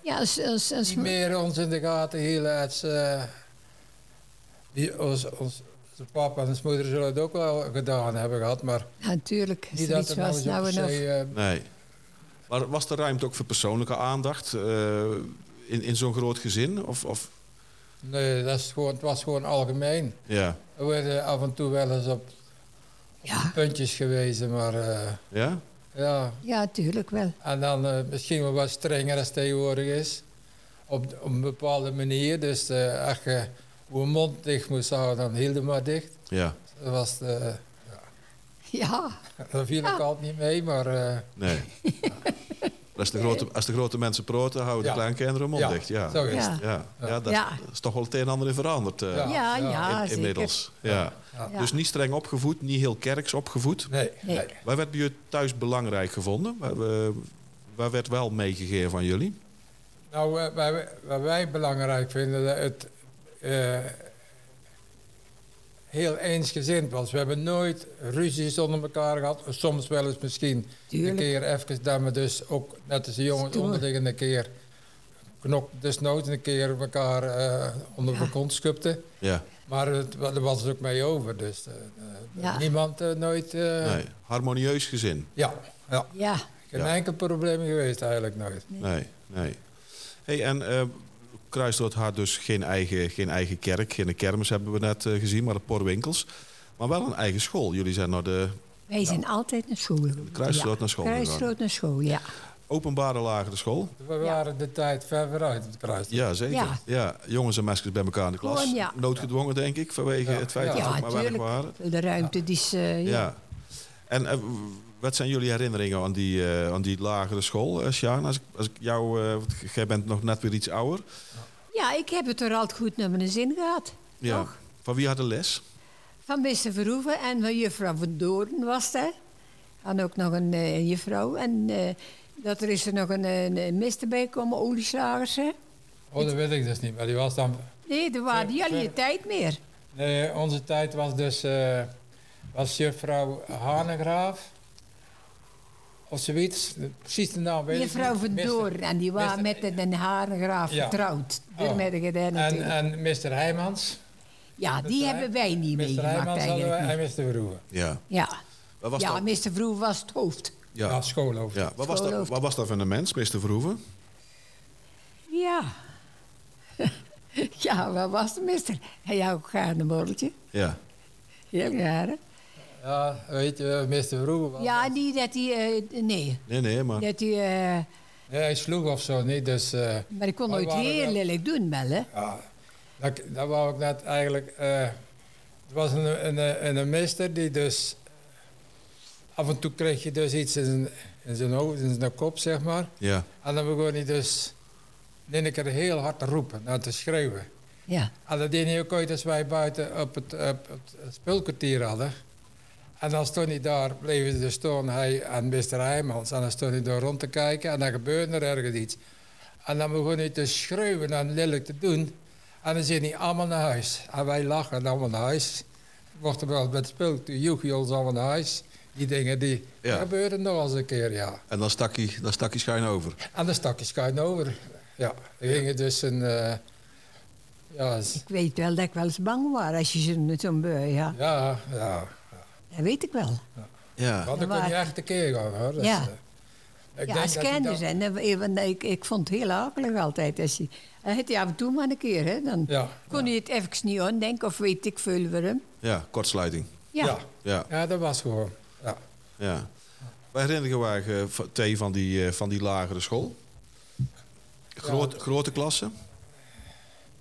[SPEAKER 3] ja als, als, als,
[SPEAKER 4] die meer ons in de gaten hielden als eh, die, ons, ons, onze papa en onze moeder zullen het ook wel gedaan hebben gehad, maar
[SPEAKER 3] Ja, natuurlijk.
[SPEAKER 4] niet
[SPEAKER 3] zoiets
[SPEAKER 4] dat er
[SPEAKER 3] was
[SPEAKER 4] nou,
[SPEAKER 3] nou
[SPEAKER 4] nou
[SPEAKER 3] en of.
[SPEAKER 2] Nee. Maar was er ruimte ook voor persoonlijke aandacht eh, in, in zo'n groot gezin? Of, of
[SPEAKER 4] Nee, dat is gewoon, het was gewoon algemeen.
[SPEAKER 2] ja.
[SPEAKER 4] We werden af en toe wel eens op
[SPEAKER 3] Ja,
[SPEAKER 4] puntjes gewezen, maar eh,
[SPEAKER 2] Ja?
[SPEAKER 4] ja.
[SPEAKER 3] ja, tuurlijk wel.
[SPEAKER 4] En dan eh, misschien wel wat strenger als tegenwoordig is. Op, op een bepaalde manier. Dus eh, als je je mond dicht moest houden, dan hield je maar dicht.
[SPEAKER 2] Ja.
[SPEAKER 4] Dat, was de,
[SPEAKER 3] Ja,
[SPEAKER 4] dat viel
[SPEAKER 3] Oh.
[SPEAKER 4] ik altijd niet mee, maar eh,
[SPEAKER 2] Nee. Als, de grote, als de grote mensen proten, houden de
[SPEAKER 4] Ja.
[SPEAKER 2] kleinkinderen hun mond
[SPEAKER 4] ja,
[SPEAKER 2] dicht. Ja.
[SPEAKER 4] zo is
[SPEAKER 3] Ja.
[SPEAKER 4] het.
[SPEAKER 2] Ja, ja, dat
[SPEAKER 3] Ja.
[SPEAKER 2] is toch wel het een en ander in veranderd eh,
[SPEAKER 4] Ja,
[SPEAKER 3] ja,
[SPEAKER 4] ja.
[SPEAKER 3] ja,
[SPEAKER 2] in-
[SPEAKER 3] zeker.
[SPEAKER 2] inmiddels. Ja.
[SPEAKER 3] Ja.
[SPEAKER 2] Dus niet streng opgevoed, niet heel kerks opgevoed.
[SPEAKER 4] Nee,
[SPEAKER 3] Nee.
[SPEAKER 4] nee.
[SPEAKER 2] Waar werd bij jullie thuis belangrijk gevonden? Waar, eh, waar werd wel meegegeven van jullie?
[SPEAKER 4] Nou, eh, wij- wat wij belangrijk vinden, dat het eh, heel eensgezind was. We hebben nooit ruzies onder elkaar gehad. Soms wel eens misschien
[SPEAKER 3] Tuurlijk.
[SPEAKER 4] een keer even dat we dus ook, net als de jongens
[SPEAKER 3] Stoer.
[SPEAKER 4] onderling, een keer knok desnoods een keer elkaar eh, onder de kont schupten.
[SPEAKER 2] Ja,
[SPEAKER 4] Maar het, wa- er was ook mee over, dus eh, eh,
[SPEAKER 3] Ja.
[SPEAKER 4] niemand eh, nooit... eh,
[SPEAKER 2] nee. Harmonieus gezin?
[SPEAKER 4] Ja, ja,
[SPEAKER 3] Ja,
[SPEAKER 4] geen
[SPEAKER 2] Ja.
[SPEAKER 4] enkel probleem geweest eigenlijk nooit.
[SPEAKER 2] Nee, nee. Hey, en eh Kruisdorp had dus geen eigen, geen eigen kerk, geen kermis hebben we net eh, gezien, maar een paar winkels. Maar wel een eigen school. Jullie zijn naar de
[SPEAKER 3] wij zijn altijd naar school. gegaan.
[SPEAKER 2] Kruisrood
[SPEAKER 3] Ja,
[SPEAKER 2] naar school
[SPEAKER 3] Kruisrood naar school, ja.
[SPEAKER 2] openbare lagere school.
[SPEAKER 4] We waren de tijd ver vooruit op het kruis.
[SPEAKER 2] Ja, zeker. Ja.
[SPEAKER 3] Ja.
[SPEAKER 2] jongens en meisjes bij elkaar in de klas.
[SPEAKER 3] Gewoon, ja.
[SPEAKER 2] Noodgedwongen, denk ik, vanwege
[SPEAKER 4] Ja.
[SPEAKER 2] het feit
[SPEAKER 4] Ja.
[SPEAKER 2] dat er
[SPEAKER 3] Ja,
[SPEAKER 2] maar weinig
[SPEAKER 3] tuurlijk.
[SPEAKER 2] waren.
[SPEAKER 3] De ruimte die is... eh,
[SPEAKER 2] Ja.
[SPEAKER 3] ja.
[SPEAKER 2] En eh, w- wat zijn jullie herinneringen aan die, eh, aan die lagere school, eh, Sjaan? Als ik, als ik jou... eh, want g- jij bent nog net weer iets ouder.
[SPEAKER 3] ja, ik heb het er altijd goed naar mijn zin gehad.
[SPEAKER 2] Ja.
[SPEAKER 3] Toch?
[SPEAKER 2] Van wie had de les?
[SPEAKER 3] Van meester Verhoeven en van juffrouw Van Doorn was dat. En ook nog een eh, juffrouw. En eh, dat er is er nog een, een, een meester bij komen, olieslagers. hè.
[SPEAKER 4] Oh, dat weet ik dus niet, maar die was dan
[SPEAKER 3] Nee, er waren
[SPEAKER 4] Ja,
[SPEAKER 3] jullie
[SPEAKER 4] ja.
[SPEAKER 3] je tijd meer.
[SPEAKER 4] Nee, onze tijd was dus eh, was juffrouw Hanegraaf of zoiets. Precies de naam weet ik
[SPEAKER 3] Juffrouw
[SPEAKER 4] niet.
[SPEAKER 3] Van
[SPEAKER 4] Mister-
[SPEAKER 3] Doorn. En die waren met
[SPEAKER 4] Mister-
[SPEAKER 3] de Den Harengraaf
[SPEAKER 4] Ja.
[SPEAKER 3] getrouwd.
[SPEAKER 4] Oh.
[SPEAKER 3] Door met de gedaan
[SPEAKER 4] En, eh,
[SPEAKER 3] natuurlijk.
[SPEAKER 4] en Mr. Heijmans.
[SPEAKER 3] Ja, die
[SPEAKER 4] Hij-
[SPEAKER 3] hebben wij niet
[SPEAKER 4] Mr.
[SPEAKER 3] meegemaakt
[SPEAKER 4] Heijmans hadden wij
[SPEAKER 3] eigenlijk.
[SPEAKER 4] en
[SPEAKER 3] niet.
[SPEAKER 4] Mr. Verhoeven.
[SPEAKER 2] Ja.
[SPEAKER 3] Ja,
[SPEAKER 2] Wat was
[SPEAKER 3] ja
[SPEAKER 2] dat?
[SPEAKER 3] meester Verhoeven was het hoofd.
[SPEAKER 4] Ja,
[SPEAKER 2] Ja.
[SPEAKER 4] schoolhoofd.
[SPEAKER 2] Ja. Wat, was dat,
[SPEAKER 3] Schoolhoofd.
[SPEAKER 2] wat was dat voor een mens, meester Verhoeven?
[SPEAKER 3] Ja. ja, wat was de mister? Hij had ook gaar een borreltje.
[SPEAKER 2] Ja.
[SPEAKER 3] Heel gaar, hè?
[SPEAKER 4] Ja, weet je, Mr. Verhoeven was...
[SPEAKER 3] Ja, niet dat hij... eh, nee,
[SPEAKER 2] Nee, nee, maar...
[SPEAKER 3] dat hij... eh,
[SPEAKER 4] Nee, hij sloeg of zo niet, dus... eh,
[SPEAKER 3] maar hij kon
[SPEAKER 4] Maar
[SPEAKER 3] nooit
[SPEAKER 4] waren
[SPEAKER 3] heel
[SPEAKER 4] wel-
[SPEAKER 3] lelijk doen, wel, hè?
[SPEAKER 4] Ja, dat, dat wou ik net eigenlijk. eh, het was een, een, een, een meester die dus af en toe kreeg je dus iets in zijn, in zijn hoofd, in zijn kop, zeg maar.
[SPEAKER 2] Ja.
[SPEAKER 4] En dan begon hij dus in een keer heel hard te roepen, nou te schreeuwen.
[SPEAKER 3] Ja.
[SPEAKER 4] En dat deed hij ook ooit als wij buiten op het, op het speelkwartier hadden. En dan stond hij daar, bleven ze dus staan, hij en Mr. Heijmans. En dan stond hij daar rond te kijken en dan gebeurde er ergens iets. En dan begon hij te schreeuwen en lelijk te doen. En dan zijn hij allemaal naar huis. En wij lachen allemaal naar huis. Wordt er wel met speelgoed, joeg hij ons allemaal naar huis. Die dingen die
[SPEAKER 2] Ja.
[SPEAKER 4] gebeurden nog eens een keer, ja.
[SPEAKER 2] En dan stak, hij, dan stak hij schuin over.
[SPEAKER 4] En dan stak hij schuin over. Ja, we gingen dus een... eh, ja, s-
[SPEAKER 3] Ik weet wel dat ik wel eens bang was als je zo'n zo'n bui, ja.
[SPEAKER 4] ja, ja.
[SPEAKER 3] Dat weet ik wel.
[SPEAKER 2] Ja.
[SPEAKER 4] Want dan kon
[SPEAKER 3] maar-
[SPEAKER 4] je echt tekeer gaan, hoor. Dus,
[SPEAKER 3] Ja.
[SPEAKER 4] eh, ik
[SPEAKER 3] ja,
[SPEAKER 4] denk
[SPEAKER 3] als
[SPEAKER 4] dat hij
[SPEAKER 3] kinderen
[SPEAKER 4] dat-
[SPEAKER 3] zijn. hè, want- eh, want Ik, ik vond het heel akelig altijd. Als je, dan had hij af en toe maar een keer, hè. Dan
[SPEAKER 4] Ja,
[SPEAKER 3] kon hij het even niet aandenken of weet ik veel waarom.
[SPEAKER 2] ja, kortsluiting.
[SPEAKER 3] Ja.
[SPEAKER 4] ja.
[SPEAKER 2] Ja,
[SPEAKER 4] Ja, dat was gewoon. Ja.
[SPEAKER 2] ja. Wij herinneren waar eh, v- thee van die, eh, van die lagere school. Groot, Grote klasse.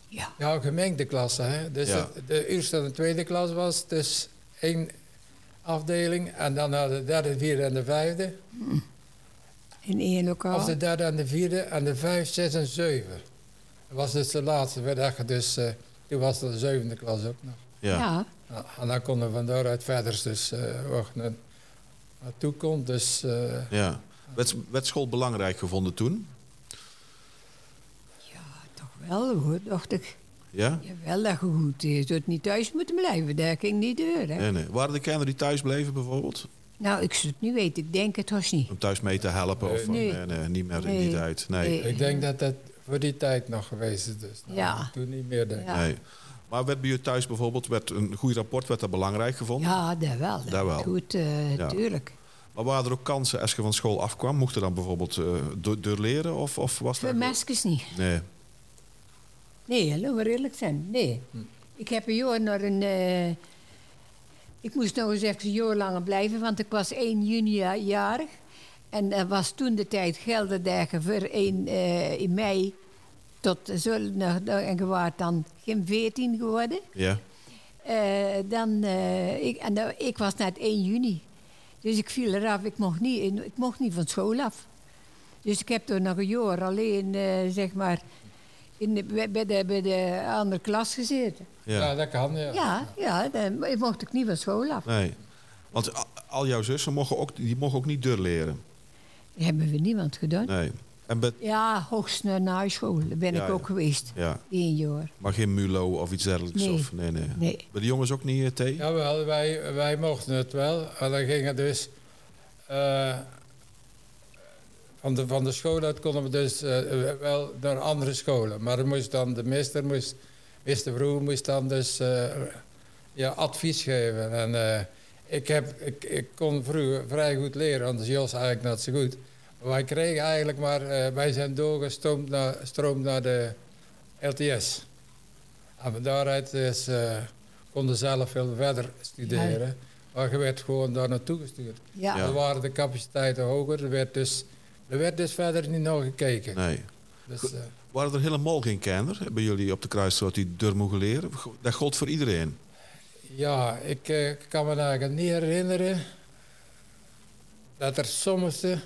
[SPEAKER 3] Ja.
[SPEAKER 4] ja, gemengde klasse. Hè? Dus
[SPEAKER 2] Ja.
[SPEAKER 4] het- de eerste en de tweede klas was dus één afdeling. En dan naar de derde, vierde en de vijfde.
[SPEAKER 3] In één lokaal.
[SPEAKER 4] Of de derde en de vierde en de vijf, zes en zeven. Dat was dus de laatste. We dachten dus, eh, toen was de zevende klas ook nog.
[SPEAKER 2] Ja. Ja.
[SPEAKER 3] ja.
[SPEAKER 4] Nou, en dan konden we van daaruit verder dus eh waar je na- naartoe kon. Dus eh,
[SPEAKER 2] Werd, werd school belangrijk gevonden toen?
[SPEAKER 3] Toch wel hoor, dacht ik.
[SPEAKER 2] Ja?
[SPEAKER 3] Jawel, dat je goed is. Dat niet thuis moeten blijven, daar ging niet deur. Hè?
[SPEAKER 2] Nee, nee. Waren er kinderen die thuis bleven bijvoorbeeld?
[SPEAKER 3] Nou, ik zou het niet weten. Ik denk het was niet.
[SPEAKER 2] Om thuis mee te helpen? Of van,
[SPEAKER 3] Nee.
[SPEAKER 2] eh, nee, niet meer in
[SPEAKER 3] Nee.
[SPEAKER 2] die tijd? Nee.
[SPEAKER 3] Nee.
[SPEAKER 4] ik denk dat dat voor die tijd nog geweest is. Dus. Nou,
[SPEAKER 3] Ja.
[SPEAKER 4] Toen niet meer, denk ik.
[SPEAKER 3] Ja.
[SPEAKER 2] Nee. Maar werd bij je thuis bijvoorbeeld werd een goed rapport werd dat belangrijk gevonden?
[SPEAKER 3] Ja, daar wel. dat
[SPEAKER 2] Daar wel.
[SPEAKER 3] Goed, eh,
[SPEAKER 2] Ja.
[SPEAKER 3] tuurlijk.
[SPEAKER 2] Maar waren er ook kansen als je van school afkwam? Mocht je dan bijvoorbeeld eh door, leren of, of was dat...
[SPEAKER 3] Voor meisjes niet.
[SPEAKER 2] Nee.
[SPEAKER 3] Nee, laten we eerlijk zijn. Nee. Ik heb een jaar naar een... eh, ik moest nog eens even een jaar langer blijven, want ik was 1 juni ja- jarig. En er was toen de tijd Gelderdagen voor 1 eh, in mei tot zo, nou, nou, en je waart dan geen 14 geworden.
[SPEAKER 2] Ja.
[SPEAKER 3] Eh, dan, eh, ik, en, nou, ik was net 1 juni. Dus ik viel eraf. Ik mocht niet, in- ik mocht niet van school af. Dus ik heb toen nog een jaar alleen, eh, zeg maar, in de, bij, bij de, bij de andere klas gezeten.
[SPEAKER 2] Ja.
[SPEAKER 4] Ja, dat kan, ja.
[SPEAKER 3] Ja, ja, dan mocht ik niet van school af.
[SPEAKER 2] Nee. Want a- al jouw zussen mogen ook, die mogen ook niet door leren.
[SPEAKER 3] Dat hebben we niemand gedaan.
[SPEAKER 2] Nee. En bet-
[SPEAKER 3] Ja, hoogst naar de huisschool. Daar ben
[SPEAKER 2] Ja,
[SPEAKER 3] ik
[SPEAKER 2] ja.
[SPEAKER 3] ook geweest.
[SPEAKER 2] ja.
[SPEAKER 3] Eén jaar.
[SPEAKER 2] Maar geen Mulo of iets dergelijks?
[SPEAKER 3] Nee.
[SPEAKER 2] Of, nee, nee.
[SPEAKER 3] Nee.
[SPEAKER 2] Bij de jongens ook niet, eh, thee?
[SPEAKER 4] Jawel, wij, wij mochten het wel. En dan gingen dus... eh, van, de, van de school uit konden we dus eh, wel naar andere scholen. Maar er moest dan de meester, moest, meester Vroeg moest dan dus eh, ja, advies geven. En eh, ik, heb, ik, ik kon vroeger vrij goed leren, anders Jos eigenlijk net zo goed. Maar wij kregen eigenlijk maar... eh, wij zijn doorgestroomd naar, stroomd naar de LTS. En van daaruit is... eh, konden zelf veel verder studeren. Maar je werd gewoon daar naartoe gestuurd.
[SPEAKER 3] Ja.
[SPEAKER 2] Ja.
[SPEAKER 4] Er waren de capaciteiten hoger. Er werd dus, er werd dus verder niet naar gekeken.
[SPEAKER 2] Nee.
[SPEAKER 4] Dus, eh,
[SPEAKER 2] Waren er helemaal geen kinderen bij jullie op de kruisstraat die door mogen leren? Go- Dat gold voor iedereen.
[SPEAKER 4] ja, ik eh, kan me eigenlijk niet herinneren dat er sommige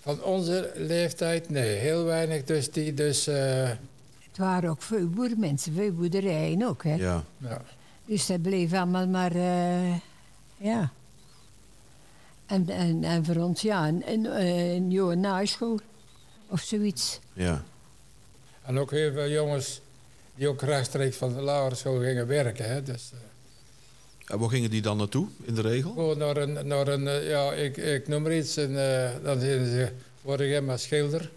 [SPEAKER 4] van onze leeftijd, nee, heel weinig dus die dus, eh,
[SPEAKER 3] Het waren ook veel boermensen, veel boerderijen ook. Hè.
[SPEAKER 2] Ja.
[SPEAKER 4] ja,
[SPEAKER 3] Dus dat bleef allemaal maar, eh, ja. En, en, en voor ons, ja, een, een, eh, een jaar na de school of zoiets.
[SPEAKER 2] Ja.
[SPEAKER 4] en ook heel veel jongens die ook rechtstreeks van de lagere school gingen werken. Hè, dus, eh,
[SPEAKER 2] En waar gingen die dan naartoe in de regel?
[SPEAKER 4] Gewoon naar een, naar een eh, ja, ik, ik noem maar iets. En, eh, dan gingen ze, worden jij maar schilder.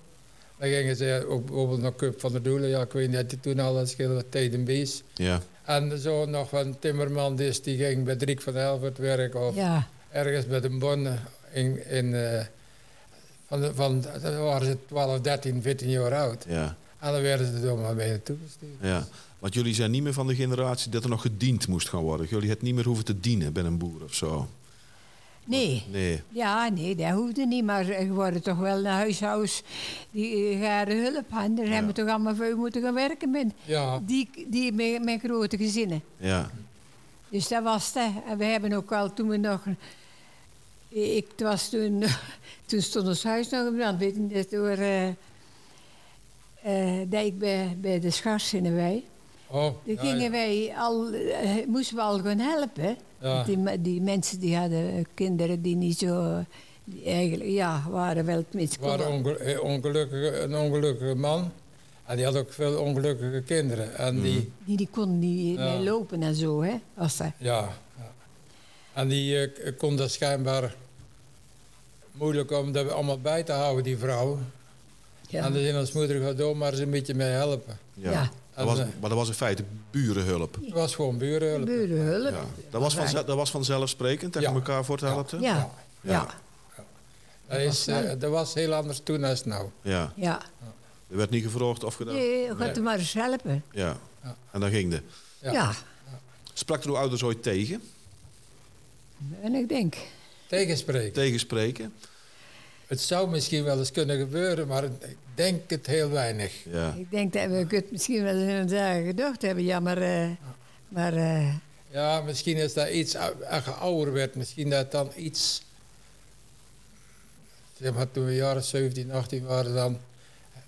[SPEAKER 4] Dan gingen ze ook bijvoorbeeld naar Cup van der Doelen. Ja, ik weet niet, had je toen al een schilder, Tijden Bees.
[SPEAKER 2] Ja.
[SPEAKER 4] En zo nog een timmerman, dus die ging bij Driek van Helvert werken. Of
[SPEAKER 3] Ja,
[SPEAKER 4] ergens met een bon in... in eh, van, de- van, dan waren ze 12, 13, 14 jaar oud.
[SPEAKER 2] Ja.
[SPEAKER 4] En dan werden ze er maar mee naartoe gestuurd.
[SPEAKER 2] ja. Want jullie zijn niet meer van de generatie dat er nog gediend moest gaan worden. Jullie het niet meer hoeven te dienen bij een boer of zo.
[SPEAKER 3] nee.
[SPEAKER 2] Nee.
[SPEAKER 3] Ja, nee, dat hoefde niet. Maar er worden toch wel naar huishoudens die eh, gare hulp hadden. Daar hebben we toch allemaal veel moeten gaan werken met
[SPEAKER 4] Ja,
[SPEAKER 3] die, die met, met grote gezinnen.
[SPEAKER 2] Ja.
[SPEAKER 3] Dus dat was het. hè. En we hebben ook al toen we nog Ik, het was toen, toen stond ons huis nog in brand. Weet je, net door eh eh, Dijk bij, bij de schars in wij.
[SPEAKER 4] Oh,
[SPEAKER 3] Daar
[SPEAKER 4] ja,
[SPEAKER 3] gingen
[SPEAKER 4] ja.
[SPEAKER 3] wij al, eh, moesten we al gaan helpen.
[SPEAKER 4] Ja.
[SPEAKER 3] Die, me- die mensen die hadden eh, kinderen die niet zo, eh, die eigenlijk, ja, waren wel tenminste.
[SPEAKER 4] Het was een onge- eh, ongelukkige, een ongelukkige man. En die had ook veel ongelukkige kinderen. En die,
[SPEAKER 3] Die, die konden niet
[SPEAKER 4] Ja.
[SPEAKER 3] meer lopen en zo, hè. Was dat.
[SPEAKER 4] ja. ja. En die eh, k- kon dat schijnbaar moeilijk om dat allemaal bij te houden, die vrouw.
[SPEAKER 3] Ja.
[SPEAKER 4] En dan zei ons moeder, ga door maar eens een beetje mee helpen.
[SPEAKER 2] Ja.
[SPEAKER 3] Ja.
[SPEAKER 2] Dat was,
[SPEAKER 4] En, eh,
[SPEAKER 2] maar dat was in feite burenhulp.
[SPEAKER 4] Het was gewoon burenhulp.
[SPEAKER 3] Burenhulp.
[SPEAKER 2] Ja. Dat, was vanzelf, dat was vanzelfsprekend dat
[SPEAKER 4] Ja.
[SPEAKER 2] je elkaar voorthelpte?
[SPEAKER 3] Ja, ja,
[SPEAKER 4] Dat, is, eh, dat was heel anders toen als nou.
[SPEAKER 2] Ja.
[SPEAKER 3] ja.
[SPEAKER 2] Er werd niet gevraagd of gedaan.
[SPEAKER 3] Nee, je gaat hem maar eens helpen.
[SPEAKER 2] Ja.
[SPEAKER 4] Ja.
[SPEAKER 2] En dan ging de.
[SPEAKER 3] Ja.
[SPEAKER 4] Ja.
[SPEAKER 2] Sprak er uw ouders ooit tegen?
[SPEAKER 3] en ik denk,
[SPEAKER 4] Tegenspreken.
[SPEAKER 2] Tegenspreken?
[SPEAKER 4] Het zou misschien wel eens kunnen gebeuren, maar ik denk het heel weinig.
[SPEAKER 2] Ja.
[SPEAKER 3] ik denk dat we het misschien wel eens in een dag gedacht hebben, ja, maar, eh, maar eh,
[SPEAKER 4] Ja, misschien is dat iets, ou- als je ouder werd, misschien dat dan iets... Zeg maar, toen we jaren 17, 18 waren, dan,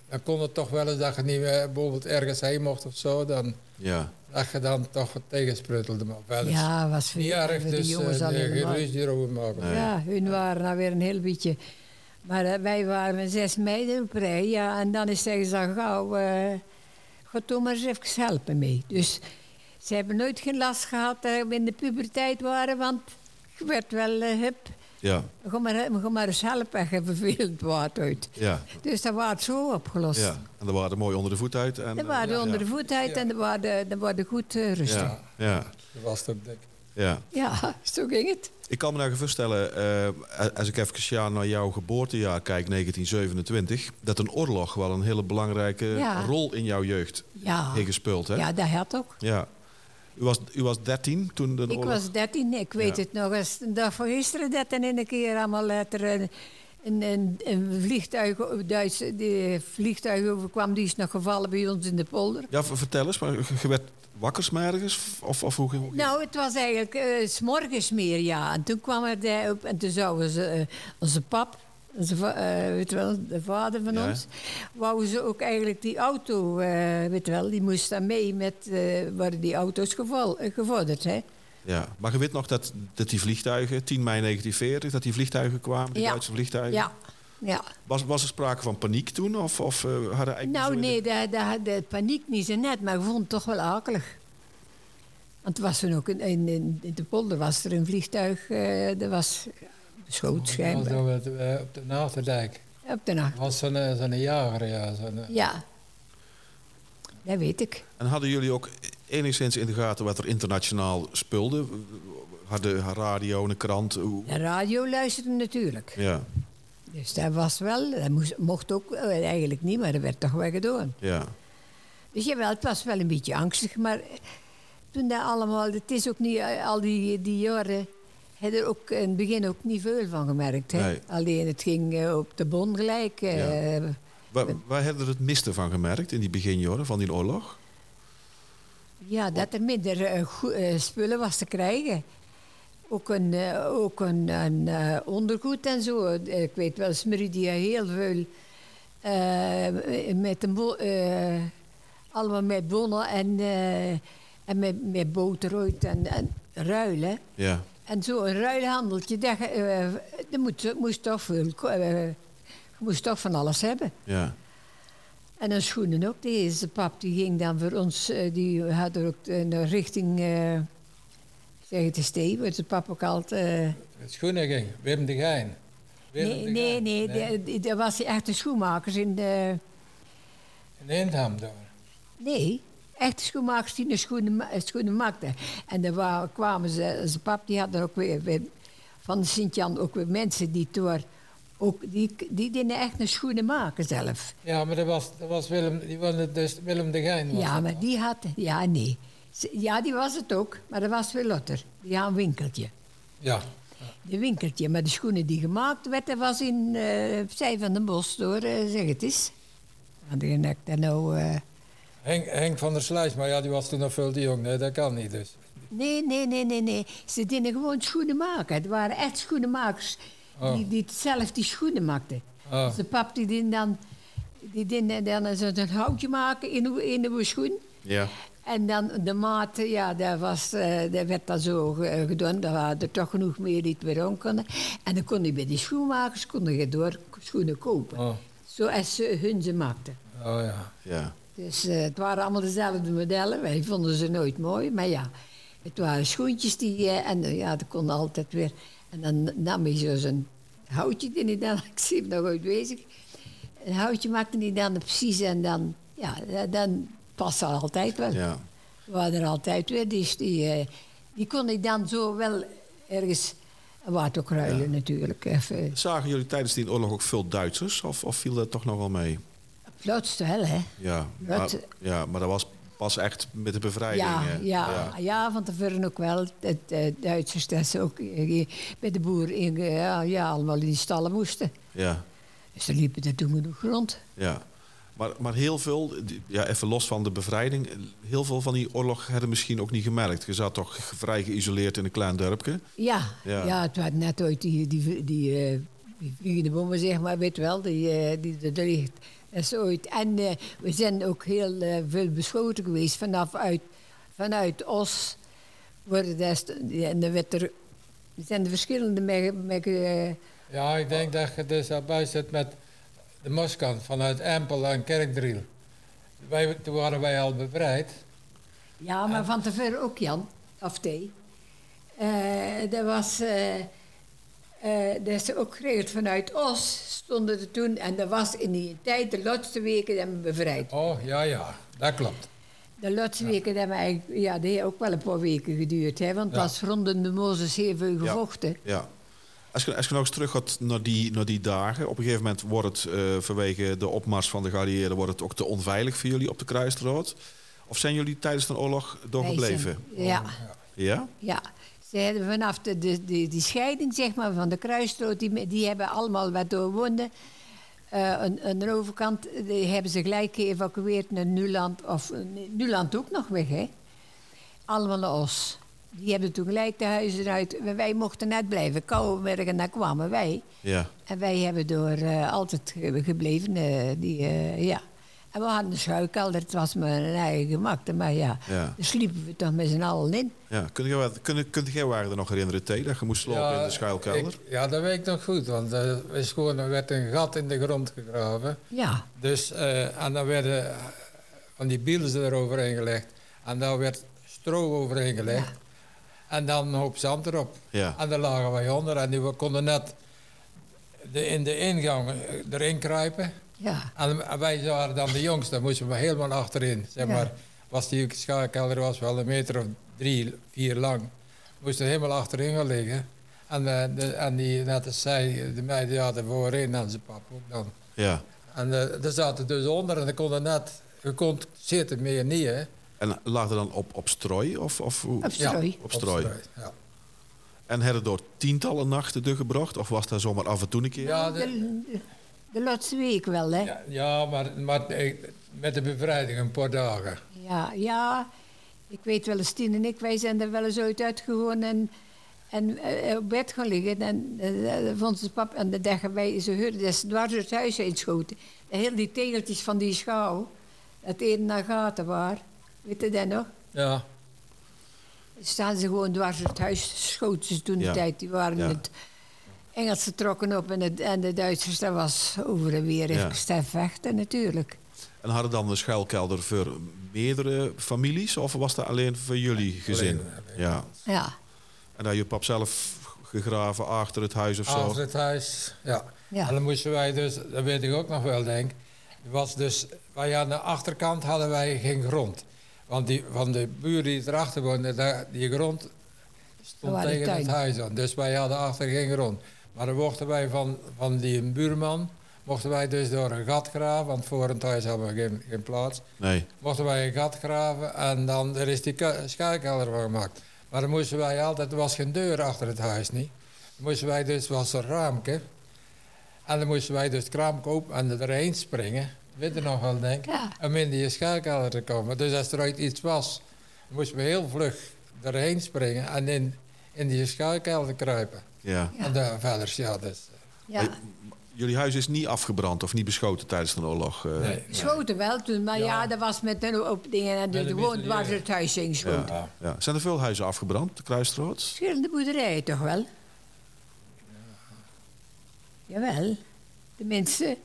[SPEAKER 4] dan kon het toch wel eens dat je niet meer bijvoorbeeld ergens heen mocht of zo. Dan,
[SPEAKER 2] Ja.
[SPEAKER 4] dat je dan toch wat tegenspreutelde. Maar wel eens
[SPEAKER 3] ja, was
[SPEAKER 4] niet erg,
[SPEAKER 3] hebben
[SPEAKER 4] dus
[SPEAKER 3] die
[SPEAKER 4] eh,
[SPEAKER 3] jongens al
[SPEAKER 4] nee, geen
[SPEAKER 3] helemaal.
[SPEAKER 4] ruzie erover maken.
[SPEAKER 3] Ja, hun waren nou weer een heel beetje. Maar eh, wij waren met zes meiden op rij, ja, en dan is zeggen ze al gauw, eh ga toch maar eens even helpen mee. Dus ze hebben nooit geen last gehad dat we in de puberteit waren, want je werd wel, eh, hup,
[SPEAKER 2] Ja.
[SPEAKER 3] Ga maar, eh, ga maar eens helpen en je vervelend waard uit.
[SPEAKER 2] Ja.
[SPEAKER 3] Dus dat waard zo opgelost.
[SPEAKER 2] ja. En dan waren er mooi onder de voet uit. En,
[SPEAKER 3] Dat waren
[SPEAKER 2] eh,
[SPEAKER 3] onder de voet uit en dat waren, dat waren goed eh, rustig. Ja.
[SPEAKER 2] ja. Ja.
[SPEAKER 4] Dat was het op dik.
[SPEAKER 2] ja.
[SPEAKER 3] zo ging het.
[SPEAKER 2] Ik kan me nou voorstellen, eh, als ik even Sjaan, naar jouw geboortejaar kijk, 1927, dat een oorlog wel een hele belangrijke
[SPEAKER 3] Ja.
[SPEAKER 2] rol in jouw jeugd
[SPEAKER 3] Ja,
[SPEAKER 2] heeft gespeeld. Hè?
[SPEAKER 3] ja dat had ook.
[SPEAKER 2] Ja. U, was, u was 13 toen de
[SPEAKER 3] Ik
[SPEAKER 2] oorlog.
[SPEAKER 3] was 13, ik weet
[SPEAKER 2] Ja.
[SPEAKER 3] het nog eens. De dag van gisteren dat en in een keer allemaal dat er een, een, een, een vliegtuig, Duits, die vliegtuig overkwam. Die is nog gevallen bij ons in de polder.
[SPEAKER 2] Ja, v- vertel eens, maar je je werd wakker 's morgens Of, of hoe ging hoe ging-
[SPEAKER 3] Nou, het was eigenlijk eh, 's morgens meer, ja. En toen kwam er de, op, en toen zouden ze, eh, onze pap, onze, va- eh, weet je wel, de vader van
[SPEAKER 2] Ja.
[SPEAKER 3] ons, wou ze ook eigenlijk die auto, eh, weet je wel, die moest dan mee met, eh worden die auto's geval, eh, gevorderd, hè.
[SPEAKER 2] Ja. Maar je weet nog dat, dat die vliegtuigen, 10 mei 1940, dat die vliegtuigen kwamen, die
[SPEAKER 3] Ja.
[SPEAKER 2] Duitse vliegtuigen.
[SPEAKER 3] Ja, ja.
[SPEAKER 2] Was, was er sprake van paniek toen? Of, of eh, hadden eigenlijk
[SPEAKER 3] Nou,
[SPEAKER 2] zo-
[SPEAKER 3] nee, de, de, de paniek niet zo net, maar ik vond het toch wel akelig. Want er was toen ook een, in, in, in de polder was er een vliegtuig, eh dat was beschoten
[SPEAKER 4] Dat
[SPEAKER 3] schijnbaar.
[SPEAKER 4] was op de- eh, op de Naterdijk.
[SPEAKER 3] Op de nacht.
[SPEAKER 4] Dat was zo'n eh, zo'n jager, ja. Zo'n, eh,
[SPEAKER 3] Ja, dat weet ik.
[SPEAKER 2] En hadden jullie ook enigszins in de gaten wat er internationaal speelde? Hadden radio, een krant? hoe-
[SPEAKER 3] De radio luisterde natuurlijk.
[SPEAKER 2] Ja,
[SPEAKER 3] Dus dat was wel, dat moest, mocht ook eh, eigenlijk niet, maar dat werd toch wel gedaan.
[SPEAKER 2] ja,
[SPEAKER 3] Dus jawel, het was wel een beetje angstig, maar eh, toen dat allemaal, het is ook niet, eh, al die, die jaren, heb je er ook in het begin ook niet veel van gemerkt. Hè?
[SPEAKER 2] Nee.
[SPEAKER 3] Alleen het ging eh, op de bon gelijk. eh,
[SPEAKER 2] Waar, waar hebben we het miste van gemerkt in die beginjaren van die oorlog?
[SPEAKER 3] Ja, dat er minder eh, goe- eh, spullen was te krijgen. Ook een, eh, ook een, een eh, ondergoed en zo. Eh, Ik weet wel, Smeridia heel veel eh, met een bo- eh, allemaal met bonnen en, eh, en met, met boterhout en, en ruilen.
[SPEAKER 2] Ja,
[SPEAKER 3] En zo'n ruilhandeltje, dat, ge- eh, dat moet, moest toch veel, ko- eh, je moest toch van alles hebben.
[SPEAKER 2] ja,
[SPEAKER 3] En dan schoenen ook. Deze pap die ging dan voor ons, eh, die had er ook een richting, eh zeg het eens Steve, wordt de pap ook altijd... eh,
[SPEAKER 4] Schoenen ging, Wim de Gein. Willem
[SPEAKER 3] nee,
[SPEAKER 4] de
[SPEAKER 3] nee,
[SPEAKER 4] Gein.
[SPEAKER 3] nee, de- die- dat was echt een schoenmakers in de...
[SPEAKER 4] In Eendham door.
[SPEAKER 3] Nee, echte schoenmakers die de schoenen, ma- eh, schoenen maakten. En daar wa- kwamen ze, zijn pap die had er ook weer, weer- van de Sint-Jan ook weer mensen die door... Ook die, die deden echt een schoenen maken zelf.
[SPEAKER 4] Ja, maar dat was, dat was Willem, die was het dus Willem de Gein. Was
[SPEAKER 3] Ja,
[SPEAKER 4] dat
[SPEAKER 3] maar
[SPEAKER 4] dan.
[SPEAKER 3] die had... Ja, nee. Ze- Ja, die was het ook, maar dat was weer Lotter. Die had een winkeltje.
[SPEAKER 4] Ja,
[SPEAKER 3] De winkeltje, maar de schoenen die gemaakt werden, was in eh Zij van den Bos door, eh, zeg het eens. Want ik denk dat nou... eh,
[SPEAKER 4] Henk, Henk van der Sluis, maar ja, die was toen nog veel te jong. Nee, dat kan niet dus.
[SPEAKER 3] Nee, nee, nee, nee, nee. Ze deden gewoon schoenen maken. Het waren echt schoenenmakers
[SPEAKER 4] Oh.
[SPEAKER 3] die, die zelf die schoenen maakten.
[SPEAKER 4] Oh.
[SPEAKER 3] Dus de pap die deed dan, die deed dan zo een houtje maken in uw, in uw schoen.
[SPEAKER 2] Ja.
[SPEAKER 3] En dan de maat, ja, daar, was, eh, daar werd dan zo ge- gedaan. Er waren er toch genoeg meer die het weer aan konden. En dan kon je bij die schoenmakers kon je door schoenen kopen.
[SPEAKER 4] Oh,
[SPEAKER 3] Zoals ze hun ze maakten.
[SPEAKER 4] oh ja.
[SPEAKER 2] ja.
[SPEAKER 3] Dus eh, het waren allemaal dezelfde modellen. Wij vonden ze nooit mooi, maar ja. Het waren schoentjes die... eh, en eh, ja, dat kon altijd weer... En dan nam hij zo zijn houtje, die hij dan... Ik zie hem nog ooit bezig. Een houtje maakte hij dan precies en dan... Ja, eh, dan paste altijd wel.
[SPEAKER 2] ja.
[SPEAKER 3] We waren er altijd weer. Dus die, eh, die kon ik dan zo wel ergens wat ook ruilen natuurlijk. Even.
[SPEAKER 2] Zagen jullie tijdens die oorlog ook veel Duitsers? Of, of viel dat toch nog wel mee?
[SPEAKER 3] Plots wel, hè?
[SPEAKER 2] Ja.
[SPEAKER 3] Dat-
[SPEAKER 2] Maar, ja, maar dat was pas echt met de bevrijding.
[SPEAKER 3] Ja,
[SPEAKER 2] hè?
[SPEAKER 3] ja, ja. van tevoren ook wel. Het eh, Duitsers dat ze ook eh, bij de boer in, eh, ja, ja, allemaal in die stallen moesten.
[SPEAKER 2] ja.
[SPEAKER 3] Dus ze liepen er toen genoeg rond.
[SPEAKER 2] Ja, maar, maar heel veel, die- ja, even los van de bevrijding, heel veel van die oorlog hadden misschien ook niet gemerkt. Je zat toch vrij geïsoleerd in een klein dorpje.
[SPEAKER 3] Ja,
[SPEAKER 2] Ja.
[SPEAKER 3] ja. het waren net ooit die, die, die, eh die vliegende bommen, zeg maar, weet wel, die, eh die er ligt. Dat is ooit. En eh, we zijn ook heel eh, veel beschoten geweest vanaf uit, vanuit Os. Worden daar st- ja, en dan werd er, er zijn er verschillende me- me- eh,
[SPEAKER 4] Ja, ik denk dat je dus daarbij zit met de Moskant vanuit Empel en Kerkdriel. Wij, toen waren wij al bevrijd.
[SPEAKER 3] Ja, maar van tevoren ook Jan, of thee. Eh dat was. eh eh, dat is ook geregeld vanuit Os, stonden er toen. En dat was in die tijd de laatste weken dat we bevrijd.
[SPEAKER 4] Oh, ja, ja, dat klopt.
[SPEAKER 3] De laatste weken dat we eigenlijk. Ja, die heeft ook wel een paar weken geduurd, hè? Want het
[SPEAKER 4] Ja.
[SPEAKER 3] was rondom de Mozes heel veel gevochten.
[SPEAKER 2] Ja. Als je, als je nog eens terug gaat naar die, naar die dagen, op een gegeven moment wordt het eh, vanwege de opmars van de geallieerden wordt het ook te onveilig voor jullie op de kruisrood. Of zijn jullie tijdens de oorlog doorgebleven?
[SPEAKER 3] Wij zijn- Ja,
[SPEAKER 2] Ja?
[SPEAKER 3] ja. Ze hebben vanaf de, de, de- die scheiding zeg maar, van de kruisrood, die, die hebben allemaal wat doorwonden. Eh, aan, aan de overkant die hebben ze gelijk geëvacueerd naar Nuland. Of eh, nee, Nuland ook nog weg, hè? Allemaal naar Os. Die hebben toen gelijk de huizen uit. maar Wij mochten net blijven. Kouwenberg en daar kwamen wij.
[SPEAKER 2] Ja.
[SPEAKER 3] En wij hebben door eh, altijd ge- gebleven. eh, die, eh, ja. En we hadden een schuilkelder. Het was maar een eigen gemak. Maar ja,
[SPEAKER 2] Ja.
[SPEAKER 3] daar sliepen we toch met z'n allen in.
[SPEAKER 2] ja. Kun je, kun, kunt jij waar nog herinneren, T, dat je moest slopen in de schuilkelder?
[SPEAKER 4] ik- ja, dat weet ik nog goed, want eh, we schoon, er werd een gat in de grond gegraven.
[SPEAKER 3] Ja.
[SPEAKER 4] Dus, eh, en dan werden eh, van die bielen eroverheen gelegd. En daar werd stro overheen gelegd. En dan een hoop zand erop.
[SPEAKER 2] Ja.
[SPEAKER 4] En daar lagen wij onder en die, we konden net de, in de ingang eh, erin kruipen.
[SPEAKER 3] Ja,
[SPEAKER 4] En, en wij waren dan de jongsten, moesten we helemaal achterin. Zeg
[SPEAKER 3] Ja.
[SPEAKER 4] maar, was die schaakkelder was wel een meter of drie, vier lang. Moesten helemaal achterin gaan liggen. En, eh, de, en die, net als zij, de meiden die hadden voorin en zijn pap ook dan.
[SPEAKER 2] Ja.
[SPEAKER 4] En eh daar zaten dus onder en dan kon er net, je kon zitten meer niet, hè?
[SPEAKER 2] En lag er dan op, op strooi? Of, of hoe?
[SPEAKER 3] op strooi.
[SPEAKER 2] Op strooi.
[SPEAKER 4] Ja,
[SPEAKER 2] En hadden door tientallen nachten doorgebracht? Of was dat zomaar af en toe een keer?
[SPEAKER 4] ja, de-
[SPEAKER 3] De, de laatste week wel, hè?
[SPEAKER 4] ja, ja, maar, maar eh, met de bevrijding een paar dagen.
[SPEAKER 3] Ja, ja. Ik weet wel eens, Tien en ik, wij zijn er wel eens ooit uitgegaan en, en eh, op bed gaan liggen. En eh, eh, vond ze pap en de dagen wij ze huurden, dat ze dwars door het huis heen schoten. En heel die tegeltjes van die schouw, dat een naar gaten waren. Weet je dat nog?
[SPEAKER 4] Ja,
[SPEAKER 3] Staan ze gewoon dwars door het huis, schoten ze toen
[SPEAKER 2] Ja.
[SPEAKER 3] de tijd. Die waren
[SPEAKER 2] Ja.
[SPEAKER 3] het Engelsen trokken op en, het, en de Duitsers, dat was over en weer
[SPEAKER 2] Ja.
[SPEAKER 3] ja. vechten natuurlijk.
[SPEAKER 2] En hadden dan een schuilkelder voor meerdere families? Of was dat alleen voor jullie gezin? ja.
[SPEAKER 3] Ja,
[SPEAKER 2] En dat je pap zelf gegraven achter het huis of zo?
[SPEAKER 4] achter het huis. Ja.
[SPEAKER 3] ja.
[SPEAKER 4] En dan moesten wij dus, dat weet ik ook nog wel, denk ik. Was dus, wij aan de achterkant hadden wij geen grond. Want die, van de buren die erachter woonden, daar, die grond stond
[SPEAKER 3] waren
[SPEAKER 4] tegen het
[SPEAKER 3] tuin.
[SPEAKER 4] huis aan. Dus wij hadden achter geen grond. Maar dan mochten wij van, van die buurman, mochten wij dus door een gat graven, want voor het huis hadden we geen, geen plaats.
[SPEAKER 2] Nee.
[SPEAKER 4] Mochten wij een gat graven en dan er is die ku- schuilkelder van gemaakt. Maar dan moesten wij altijd, er was geen deur achter het huis niet. Dan moesten wij dus, was een raamke. En dan moesten wij dus het raam open en er erheen springen. Weet je nog wel, denk ik?
[SPEAKER 3] Ja.
[SPEAKER 4] Om in die schuilkelder te komen. Dus als er ooit iets was, dan moesten we heel vlug erheen springen en in, in die schuilkelder kruipen.
[SPEAKER 2] Ja.
[SPEAKER 3] Ja.
[SPEAKER 4] En de verder, ja, dus.
[SPEAKER 3] Ja.
[SPEAKER 2] Maar Jullie huis is niet afgebrand of niet beschoten tijdens de oorlog. eh?
[SPEAKER 4] Nee.
[SPEAKER 3] Schoten wel toen, maar ja.
[SPEAKER 4] Ja.
[SPEAKER 3] dat was met een hoop dingen. En
[SPEAKER 4] Met
[SPEAKER 3] dus
[SPEAKER 4] een
[SPEAKER 3] gewoon
[SPEAKER 4] mitrailleur.
[SPEAKER 3] was het huis ingeschoten.
[SPEAKER 2] Ja. Ja. Zijn er veel huizen afgebrand op de Kruisstraat?
[SPEAKER 3] Verschillende boerderijen toch wel? Jawel. Tenminste,
[SPEAKER 4] eh,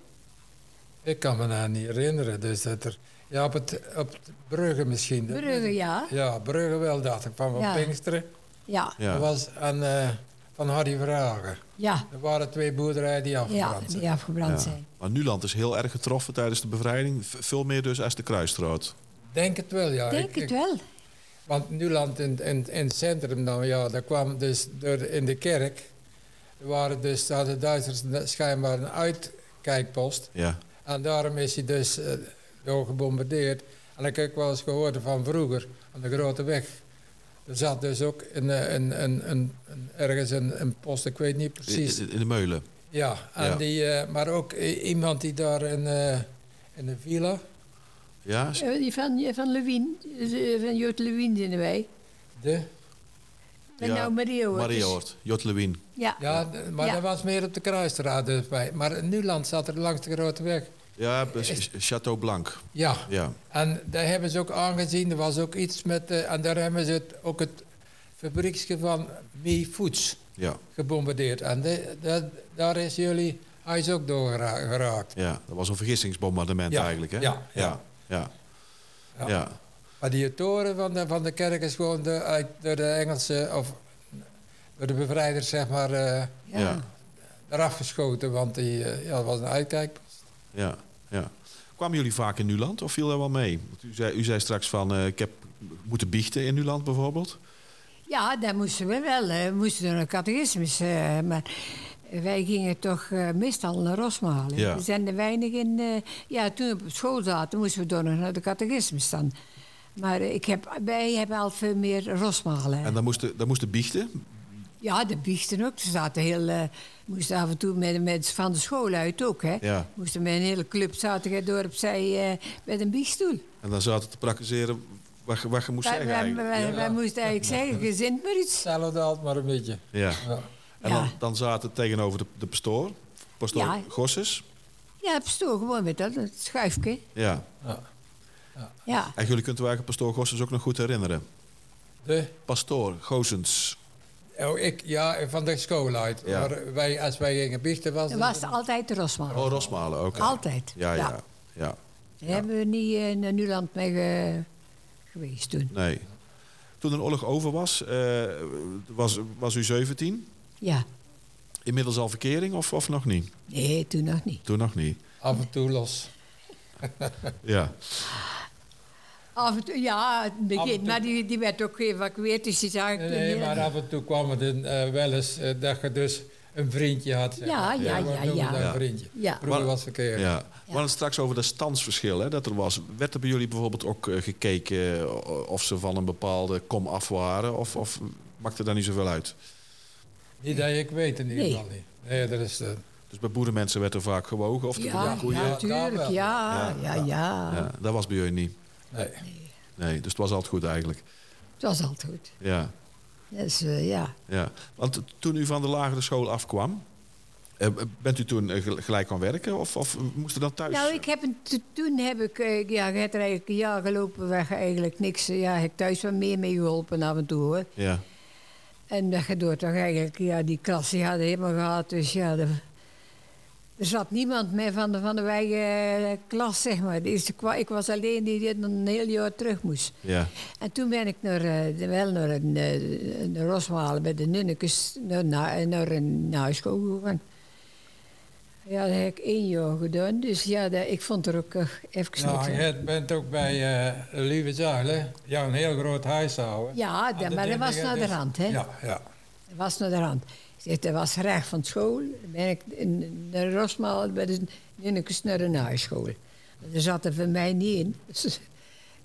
[SPEAKER 4] Ik kan me daar niet herinneren. Dus dat er, ja, op het, op het Brugge misschien.
[SPEAKER 3] Brugge, ja.
[SPEAKER 4] Ja, Brugge wel, dacht ik. Van Van
[SPEAKER 3] Ja.
[SPEAKER 4] Pinksteren.
[SPEAKER 3] Ja,
[SPEAKER 2] Ja.
[SPEAKER 4] Dat was en, eh, van Harry Vrager.
[SPEAKER 3] ja,
[SPEAKER 4] Er waren twee boerderijen die
[SPEAKER 3] ja,
[SPEAKER 4] afgebrand zijn.
[SPEAKER 3] die afgebrand
[SPEAKER 2] Ja.
[SPEAKER 3] zijn.
[SPEAKER 2] Maar Nuland is heel erg getroffen tijdens de bevrijding. V- veel meer dus als de Kruisstraat.
[SPEAKER 4] Denk het wel, ja.
[SPEAKER 3] Ik denk
[SPEAKER 4] Ik- ik-
[SPEAKER 3] het wel.
[SPEAKER 4] Want Nuland in, in, in het centrum dan, ja, daar kwam dus door, in de kerk. Er waren dus, daar hadden Duitsers ne- schijnbaar een uitkijkpost.
[SPEAKER 2] Ja.
[SPEAKER 4] En daarom is hij dus eh, door gebombardeerd. En ik heb ook wel eens gehoord van vroeger, aan de Grote Weg. Er zat dus ook een, eh, een, een, een, een- ergens een, een post, ik weet niet precies.
[SPEAKER 2] In, in de Meulen.
[SPEAKER 4] Ja, en
[SPEAKER 2] Ja.
[SPEAKER 4] Die, eh, maar ook i- iemand die daar in, eh, in een villa,
[SPEAKER 2] Ja?
[SPEAKER 3] Eh, Die van, die van Lewin, eh, van Jood Lewin zijn wij.
[SPEAKER 4] de,
[SPEAKER 3] En
[SPEAKER 2] Ja,
[SPEAKER 3] nou Maria hoort.
[SPEAKER 2] Maria hoort. Jot Lewin.
[SPEAKER 3] Ja. ja.
[SPEAKER 4] ja, d- maar
[SPEAKER 3] Ja.
[SPEAKER 4] dat was meer op de kruisstraat dus bij. Maar Nuland zat er langs de Grote Weg.
[SPEAKER 2] Ja, precies. Chateau Blanc.
[SPEAKER 4] Ja,
[SPEAKER 2] Ja.
[SPEAKER 4] en daar hebben ze ook aangezien, er was ook iets met, eh, en daar hebben ze het, ook het fabrieksje van Mee Foods.
[SPEAKER 2] Ja.
[SPEAKER 4] gebombardeerd. En de- dat- daar is jullie huis ook door gera- geraakt.
[SPEAKER 2] ja. Dat was een vergissingsbombardement
[SPEAKER 4] Ja,
[SPEAKER 2] eigenlijk. Hè?
[SPEAKER 4] ja,
[SPEAKER 2] Ja.
[SPEAKER 4] ja.
[SPEAKER 2] Ja. Ja.
[SPEAKER 4] Ja. Maar die toren van de, van de kerk is gewoon door, uit, door de Engelse of door de bevrijders zeg maar eh,
[SPEAKER 2] Ja. Ja.
[SPEAKER 4] eraf geschoten, want die eh, ja, dat was een uitkijk.
[SPEAKER 2] ja. Kwamen jullie vaak in Nuland of viel dat wel mee? Want u, zei, u zei straks van eh, ik heb moeten biechten in Nuland bijvoorbeeld.
[SPEAKER 3] daar moesten we wel. eh, We moesten naar een catechismus. eh, maar wij gingen toch eh, meestal naar Rosma halen.
[SPEAKER 2] Ja.
[SPEAKER 3] We zijn er weinig in. eh, ja, toen we op school zaten, moesten we door nog naar de catechismus dan. Maar eh, ik heb, wij hebben al veel meer Rosmalen.
[SPEAKER 2] En dan moesten, dan moesten biechten.
[SPEAKER 3] Ja, de biechten ook. Ze zaten heel, eh, moesten af en toe met, met van de school uit ook. Hè.
[SPEAKER 2] Ja.
[SPEAKER 3] Moesten met een hele club zaten wij door opzij eh, met een biechtstoel.
[SPEAKER 2] En dan zaten te praktiseren wat, je- wat je moest
[SPEAKER 3] Wij,
[SPEAKER 2] zeggen
[SPEAKER 3] wij,
[SPEAKER 2] eigenlijk.
[SPEAKER 3] wij, wij moesten eigenlijk zeggen, gezint maar iets.
[SPEAKER 4] Hetzelfde altijd maar een beetje.
[SPEAKER 2] Ja.
[SPEAKER 4] Ja.
[SPEAKER 2] En
[SPEAKER 3] Ja.
[SPEAKER 2] dan, dan zaten tegenover de, de pastoor, pastoor
[SPEAKER 3] Ja.
[SPEAKER 2] Gosses.
[SPEAKER 3] Ja, pastoor, gewoon met dat, dat schuifje.
[SPEAKER 2] Ja.
[SPEAKER 4] Ja.
[SPEAKER 3] Ja.
[SPEAKER 2] En jullie kunt u eigenlijk pastoor Gosses ook nog goed herinneren.
[SPEAKER 4] De,
[SPEAKER 2] Pastoor Gosens.
[SPEAKER 4] oh, ik, ja, van de school uit.
[SPEAKER 2] Ja.
[SPEAKER 4] Maar wij, als wij gingen biechten was
[SPEAKER 3] Dat
[SPEAKER 4] het-
[SPEAKER 3] was altijd de Rosmalen.
[SPEAKER 2] Oh, Rosmalen ook.
[SPEAKER 3] Altijd.
[SPEAKER 2] Ja, ja, ja.
[SPEAKER 3] Daar hebben we niet eh, naar Nuland mee ge- geweest toen.
[SPEAKER 2] Nee. Toen de oorlog over was, eh, was, was u 17.
[SPEAKER 3] Ja.
[SPEAKER 2] Inmiddels al verkering of, of nog niet?
[SPEAKER 3] Nee, toen nog niet.
[SPEAKER 2] Toen nog niet.
[SPEAKER 4] af en toe los.
[SPEAKER 2] Ja.
[SPEAKER 3] Af en toe, ja, het begin,
[SPEAKER 4] Af en toe.
[SPEAKER 3] maar die, die werd ook geëvacueerd, dus die zag ik
[SPEAKER 4] Nee,
[SPEAKER 3] toen
[SPEAKER 4] nee,
[SPEAKER 3] heel-
[SPEAKER 4] maar af en toe kwam het in, eh, wel eens eh, dat je dus een vriendje had. zeg
[SPEAKER 3] Ja,
[SPEAKER 4] maar.
[SPEAKER 3] ja,
[SPEAKER 4] Wat
[SPEAKER 3] ja,
[SPEAKER 4] noemen we
[SPEAKER 3] ja.
[SPEAKER 4] dat,
[SPEAKER 2] Ja.
[SPEAKER 4] Een vriendje.
[SPEAKER 3] Ja.
[SPEAKER 4] Broer was verkeerd.
[SPEAKER 2] Ja. We hadden het straks over dat standsverschil hè, dat er was. Werd er bij jullie bijvoorbeeld ook eh, gekeken eh, of ze van een bepaalde kom af waren? Of, of maakte daar niet zoveel uit?
[SPEAKER 4] Niet dat ik weet in ieder
[SPEAKER 3] Nee.
[SPEAKER 4] geval niet. Nee, dat is... eh,
[SPEAKER 2] Dus bij boerenmensen werd er vaak gewogen of de
[SPEAKER 3] Ja,
[SPEAKER 2] goede-
[SPEAKER 3] ja,
[SPEAKER 4] Ja, daar
[SPEAKER 3] natuurlijk,
[SPEAKER 4] wel.
[SPEAKER 3] ja,
[SPEAKER 2] Ja.
[SPEAKER 3] ja, ja.
[SPEAKER 2] Ja, dat was bij jullie niet.
[SPEAKER 4] nee. Nou,
[SPEAKER 2] Nee, dus het was altijd goed eigenlijk.
[SPEAKER 3] Het was altijd goed.
[SPEAKER 2] Ja,
[SPEAKER 3] Dus eh, ja,
[SPEAKER 2] ja. Want toen u van de lagere school afkwam, eh, bent u toen eh, gel- gelijk gaan werken of, of moest u dan thuis?
[SPEAKER 3] Nou, ik heb een, to- toen heb ik, eh, ja, ik heb er eigenlijk een jaar gelopen weg eigenlijk niks. eh, Ja, ik heb thuis wel meer mee geholpen af en toe hoor.
[SPEAKER 2] Ja,
[SPEAKER 3] En dat gedoe toch eigenlijk, ja, die klas die hadden helemaal gehad. Dus ja, er, er zat niemand meer van de, van de wijde klas, zeg maar. Dus ik, wa- ik was alleen die dit een heel jaar terug moest.
[SPEAKER 2] ja,
[SPEAKER 3] En toen ben ik naar, eh, de- wel naar een, eh, een Rosmalen bij de Nunnekes naar, naar, naar een huisschool gegaan. Ja, dat heb ik één jaar gedaan. Dus ja, dat, ik vond er ook eh, even niks
[SPEAKER 4] Nou,
[SPEAKER 3] aan.
[SPEAKER 4] je bent ook bij eh, Lieve Zuilen. Ja, een heel groot huis houden.
[SPEAKER 3] Ja, dat- maar dat was naar de rand, hè?
[SPEAKER 4] Ja, ja.
[SPEAKER 3] Dat was naar de hand. Ik zeg, dat was recht van school. Dan ben ik in- naar Rosmaal bij de Nunnekes naar een huisschool. Daar zat er voor mij niet in. Dus,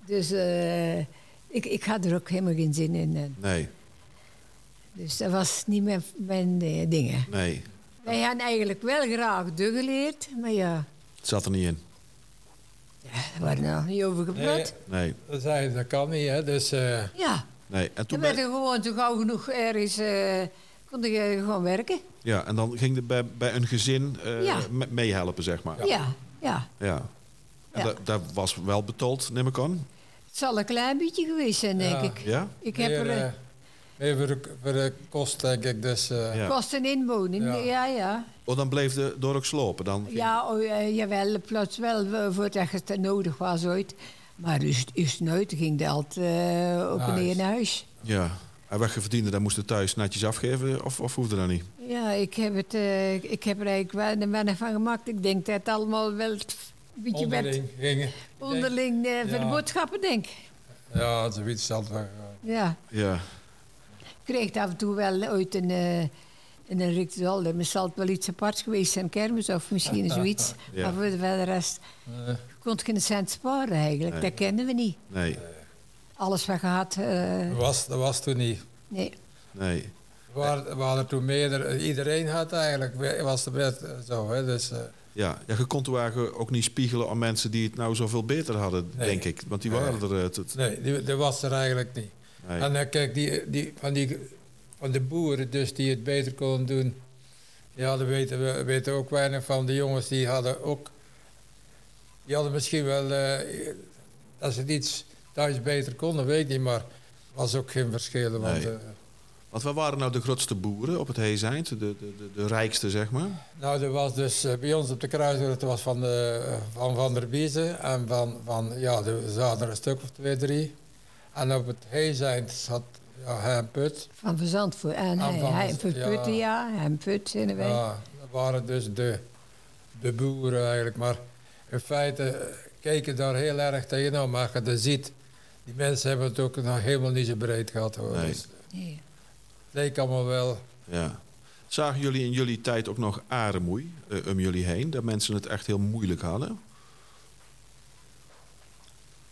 [SPEAKER 3] dus, eh, ik, ik had er ook helemaal geen zin in. En
[SPEAKER 2] nee,
[SPEAKER 3] Dus dat was niet mijn, mijn eh, dingen.
[SPEAKER 2] nee.
[SPEAKER 3] Wij hadden eigenlijk wel graag de geleerd, maar ja,
[SPEAKER 2] Het zat er niet in.
[SPEAKER 3] daar waren we nog niet over gepraat.
[SPEAKER 4] Nee,
[SPEAKER 2] Nee,
[SPEAKER 4] dat, zei, dat kan niet, hè. Dus eh,
[SPEAKER 3] Ja,
[SPEAKER 2] Nee, en toen ben-
[SPEAKER 3] Dan werd er gewoon zo gauw genoeg ergens, eh kon je gewoon werken.
[SPEAKER 2] ja, en dan ging het bij, bij een gezin eh,
[SPEAKER 3] Ja.
[SPEAKER 2] me- meehelpen, zeg maar.
[SPEAKER 3] Ja, ja.
[SPEAKER 2] Ja. En
[SPEAKER 3] Ja.
[SPEAKER 2] da- daar was wel betaald, neem ik aan.
[SPEAKER 3] Het zal een klein beetje geweest zijn, denk
[SPEAKER 4] Ja.
[SPEAKER 3] ik.
[SPEAKER 2] Ja?
[SPEAKER 3] Ik heb
[SPEAKER 4] meer,
[SPEAKER 3] er
[SPEAKER 4] eh,
[SPEAKER 3] eh,
[SPEAKER 4] meer voor de, voor de kost, denk ik. Dus, eh,
[SPEAKER 2] Ja.
[SPEAKER 3] kosten inwoning.
[SPEAKER 4] Ja.
[SPEAKER 3] Ja, ja. ja.
[SPEAKER 2] Oh, dan bleef de dorp slopen. Dan ging-
[SPEAKER 3] Ja, oh, eh, jawel, plots wel, eh, voordat het eh, nodig was ooit. Maar dus, dus nooit ging dat eh op en
[SPEAKER 4] Huis.
[SPEAKER 3] neer naar huis.
[SPEAKER 2] ja. En wat je verdiende, dan moest je thuis netjes afgeven of, of hoefde dat niet?
[SPEAKER 3] Ja, ik heb, het, eh, ik heb er eigenlijk wel weinig van gemaakt. Ik denk dat het allemaal wel een beetje met
[SPEAKER 4] onderling gingen.
[SPEAKER 3] onderling eh, voor
[SPEAKER 4] Ja.
[SPEAKER 3] de boodschappen, denk ik.
[SPEAKER 4] Ja, zoiets zal het wel. eh,
[SPEAKER 3] Ja,
[SPEAKER 2] Ja.
[SPEAKER 3] ik kreeg af en toe wel ooit een, eh een ritueel. Maar zal het wel iets aparts geweest zijn, kermis of misschien zoiets.
[SPEAKER 2] Ja.
[SPEAKER 3] Maar voor de voor de rest
[SPEAKER 4] eh,
[SPEAKER 3] kon ik geen cent sparen eigenlijk.
[SPEAKER 2] Nee.
[SPEAKER 3] Dat kenden we niet.
[SPEAKER 2] Nee.
[SPEAKER 3] Alles wat gehad, eh,
[SPEAKER 4] Dat was, dat was toen niet.
[SPEAKER 3] nee.
[SPEAKER 2] Nee.
[SPEAKER 4] We waren, we waren toen meerdere, iedereen had eigenlijk, we- was de bed eh, zo. Hè, dus, eh,
[SPEAKER 2] Ja. ja, je kon toen eigenlijk ook niet spiegelen aan mensen die het nou zoveel beter hadden,
[SPEAKER 4] Nee.
[SPEAKER 2] denk ik. Want die waren er... eh, tot-
[SPEAKER 4] nee, die, die was er eigenlijk niet.
[SPEAKER 2] nee.
[SPEAKER 4] En dan kijk, die, die, van, die, van de boeren dus die het beter konden doen, ja, daar weten we weten ook weinig van. De jongens die hadden ook, die hadden misschien wel, eh, als ze het iets thuis beter konden, weet ik niet, maar was ook geen verschil. Want,
[SPEAKER 2] Nee.
[SPEAKER 4] eh,
[SPEAKER 2] Want wat waren nou de grootste boeren op het Heezijnd? De, de, de, de rijkste, zeg maar?
[SPEAKER 4] Nou, er was dus eh, bij ons op de kruisroute was van, de, van Van der Biezen en van, van ja, er zaten er een stuk of twee, drie. En op het Heezijnd zat ja, Hein Put.
[SPEAKER 3] Van verzand voor en
[SPEAKER 4] Ah,
[SPEAKER 3] hij,
[SPEAKER 4] van
[SPEAKER 3] hij,
[SPEAKER 4] Verzand,
[SPEAKER 3] voor
[SPEAKER 4] ja.
[SPEAKER 3] putten, ja, en put in de weg.
[SPEAKER 4] Ja, dat waren dus de, de boeren eigenlijk. Maar in feite eh, keken daar heel erg tegenop. Maar als je dat ziet, die mensen hebben het ook nog helemaal niet zo breed gehad hoor.
[SPEAKER 2] Nee.
[SPEAKER 4] Dus het
[SPEAKER 3] Nee.
[SPEAKER 4] leek allemaal wel.
[SPEAKER 2] Ja. Zagen jullie in jullie tijd ook nog aremoei eh, om jullie heen? Dat mensen het echt heel moeilijk hadden?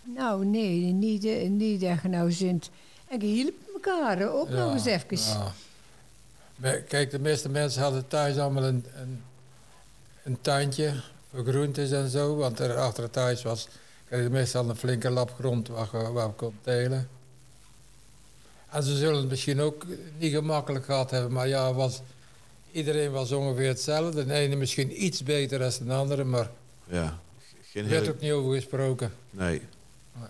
[SPEAKER 3] Nou, nee, niet, eh, niet dat je nou zint. En je hielp elkaar eh, ook
[SPEAKER 4] ja,
[SPEAKER 3] nog eens even.
[SPEAKER 4] ja. Maar Kijk, de meeste mensen hadden thuis allemaal een, een, een tuintje voor groentes en zo. Want er achter het huis was kreeg je meestal een flinke lap grond waar, je- waar we kon telen. En ze zullen het misschien ook niet gemakkelijk gehad hebben. Maar ja, was, iedereen was ongeveer hetzelfde. De ene misschien iets beter dan de andere, maar
[SPEAKER 2] Ja. Geen
[SPEAKER 4] er werd
[SPEAKER 2] hele,
[SPEAKER 4] ook niet over gesproken.
[SPEAKER 2] nee.
[SPEAKER 4] Nee.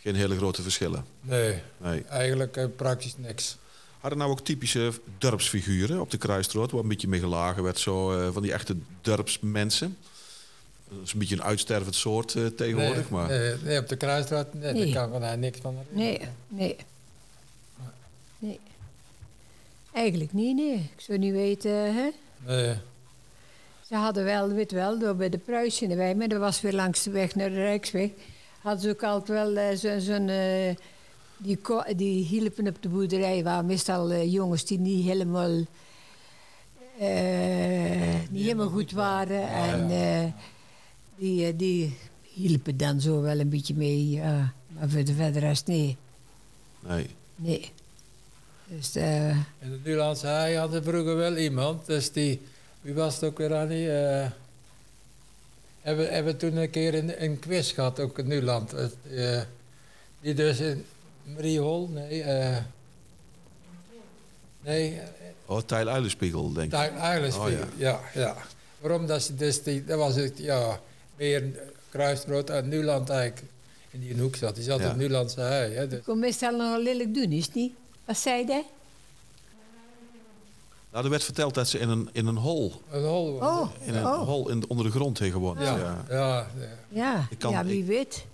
[SPEAKER 2] Geen hele grote verschillen.
[SPEAKER 4] Nee,
[SPEAKER 2] Nee.
[SPEAKER 4] eigenlijk eh, praktisch niks.
[SPEAKER 2] Hadden nou ook typische dorpsfiguren op de kruisrood, waar een beetje mee gelagen werd, zo eh, van die echte dorpsmensen. Dat is een beetje een uitstervend soort eh, tegenwoordig,
[SPEAKER 4] nee,
[SPEAKER 2] maar
[SPEAKER 4] nee, nee, op de kruisstraat, nee,
[SPEAKER 3] Nee.
[SPEAKER 4] daar kan ik niks van herinneren.
[SPEAKER 3] Nee, nee. Nee. Eigenlijk niet, nee. Ik zou niet weten, hè.
[SPEAKER 4] Nee.
[SPEAKER 3] Ze hadden wel, weet wel, door bij de Pruis in de wei, maar dat was weer langs de weg naar de Rijksweg. Hadden ze ook altijd wel eh, zo- zo'n. eh, die, ko- die hielpen op de boerderij, waren meestal eh, jongens die niet helemaal. eh, niet helemaal goed waren. en eh, die, eh, die hielpen dan zo wel een beetje mee. ja. Maar voor de verder rest, nee.
[SPEAKER 2] nee.
[SPEAKER 3] nee. Dus, eh,
[SPEAKER 4] In de Nulandse Hei had er vroeger wel iemand, dus die, wie was het ook weer Annie? Eh hebben, hebben toen een keer een, een quiz gehad, ook in Nuland. Het, eh, die dus in Mariehol, nee, eh nee,
[SPEAKER 2] Oh, Tijl Uilenspiegel, denk ik.
[SPEAKER 4] eigenlijk
[SPEAKER 2] Oh, ja.
[SPEAKER 4] ja. ja, Waarom dat ze dus die, dat was het, ja, meer kruisbrood uit Nuland eigenlijk, in die hoek zat. Die zat
[SPEAKER 2] Ja.
[SPEAKER 4] in Nulandse Hei, hè, dus.
[SPEAKER 3] ik kon meestal nogal lelijk doen, is het niet? Wat zei hij?
[SPEAKER 2] Nou, er werd verteld dat ze in een, in een hol,
[SPEAKER 4] Een hol.
[SPEAKER 3] Oh,
[SPEAKER 2] in een
[SPEAKER 3] oh.
[SPEAKER 2] hol in, onder de grond heen gewoond. Ja.
[SPEAKER 4] ja,
[SPEAKER 2] Ja.
[SPEAKER 4] ja, ja.
[SPEAKER 3] Ja,
[SPEAKER 2] Ik kan-
[SPEAKER 3] ja wie
[SPEAKER 2] ik-
[SPEAKER 3] weet.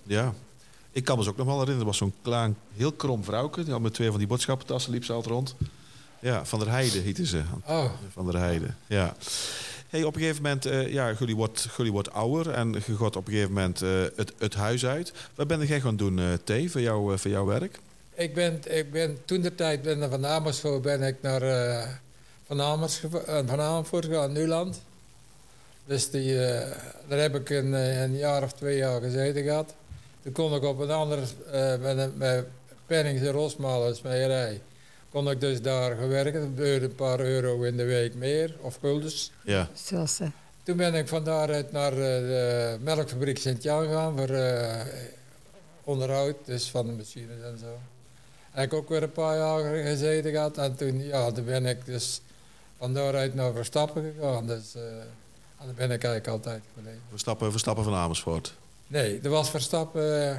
[SPEAKER 2] Ik kan me ze ook nog wel herinneren, er was zo'n klein, heel krom vrouwke, die had met twee van die boodschappentassen liep ze altijd rond. Ja, Van der Heide hiette ze,
[SPEAKER 4] Oh,
[SPEAKER 2] Van der Heide, ja. Hey, op een gegeven moment, eh, ja, jullie wordt, jullie wordt ouder en je gaat op een gegeven moment eh, het, het huis uit. Wat ben jij gaan doen, eh Thee, voor, jou, eh, voor jouw werk?
[SPEAKER 4] Ik ben, ik ben toen de tijd ben ik van Amersfoort ben ik naar eh, van, Amersfoort, van Amersfoort gegaan, Nuland. Dus die, eh, daar heb ik een, eh, een jaar of twee jaar gezeten gehad. Toen kon ik op een andere, eh met, een- met Pennings en Rosmalen, smeerij, kon ik dus daar gaan werken. Dat beurde een paar euro in de week meer, of guldens.
[SPEAKER 2] Ja,
[SPEAKER 3] Zoals eh, ze.
[SPEAKER 4] Toen ben ik van daaruit naar eh, de melkfabriek Sint-Jan gegaan voor eh, onderhoud, dus van de machines en zo. Heb ik ook weer een paar jaar gezeten gehad. En toen, ja, toen ben ik dus van daaruit naar Verstappen gegaan. Dus eh en daar ben ik eigenlijk altijd gebleven.
[SPEAKER 2] Verstappen, Verstappen van Amersfoort.
[SPEAKER 4] Nee, er was Verstappen eh,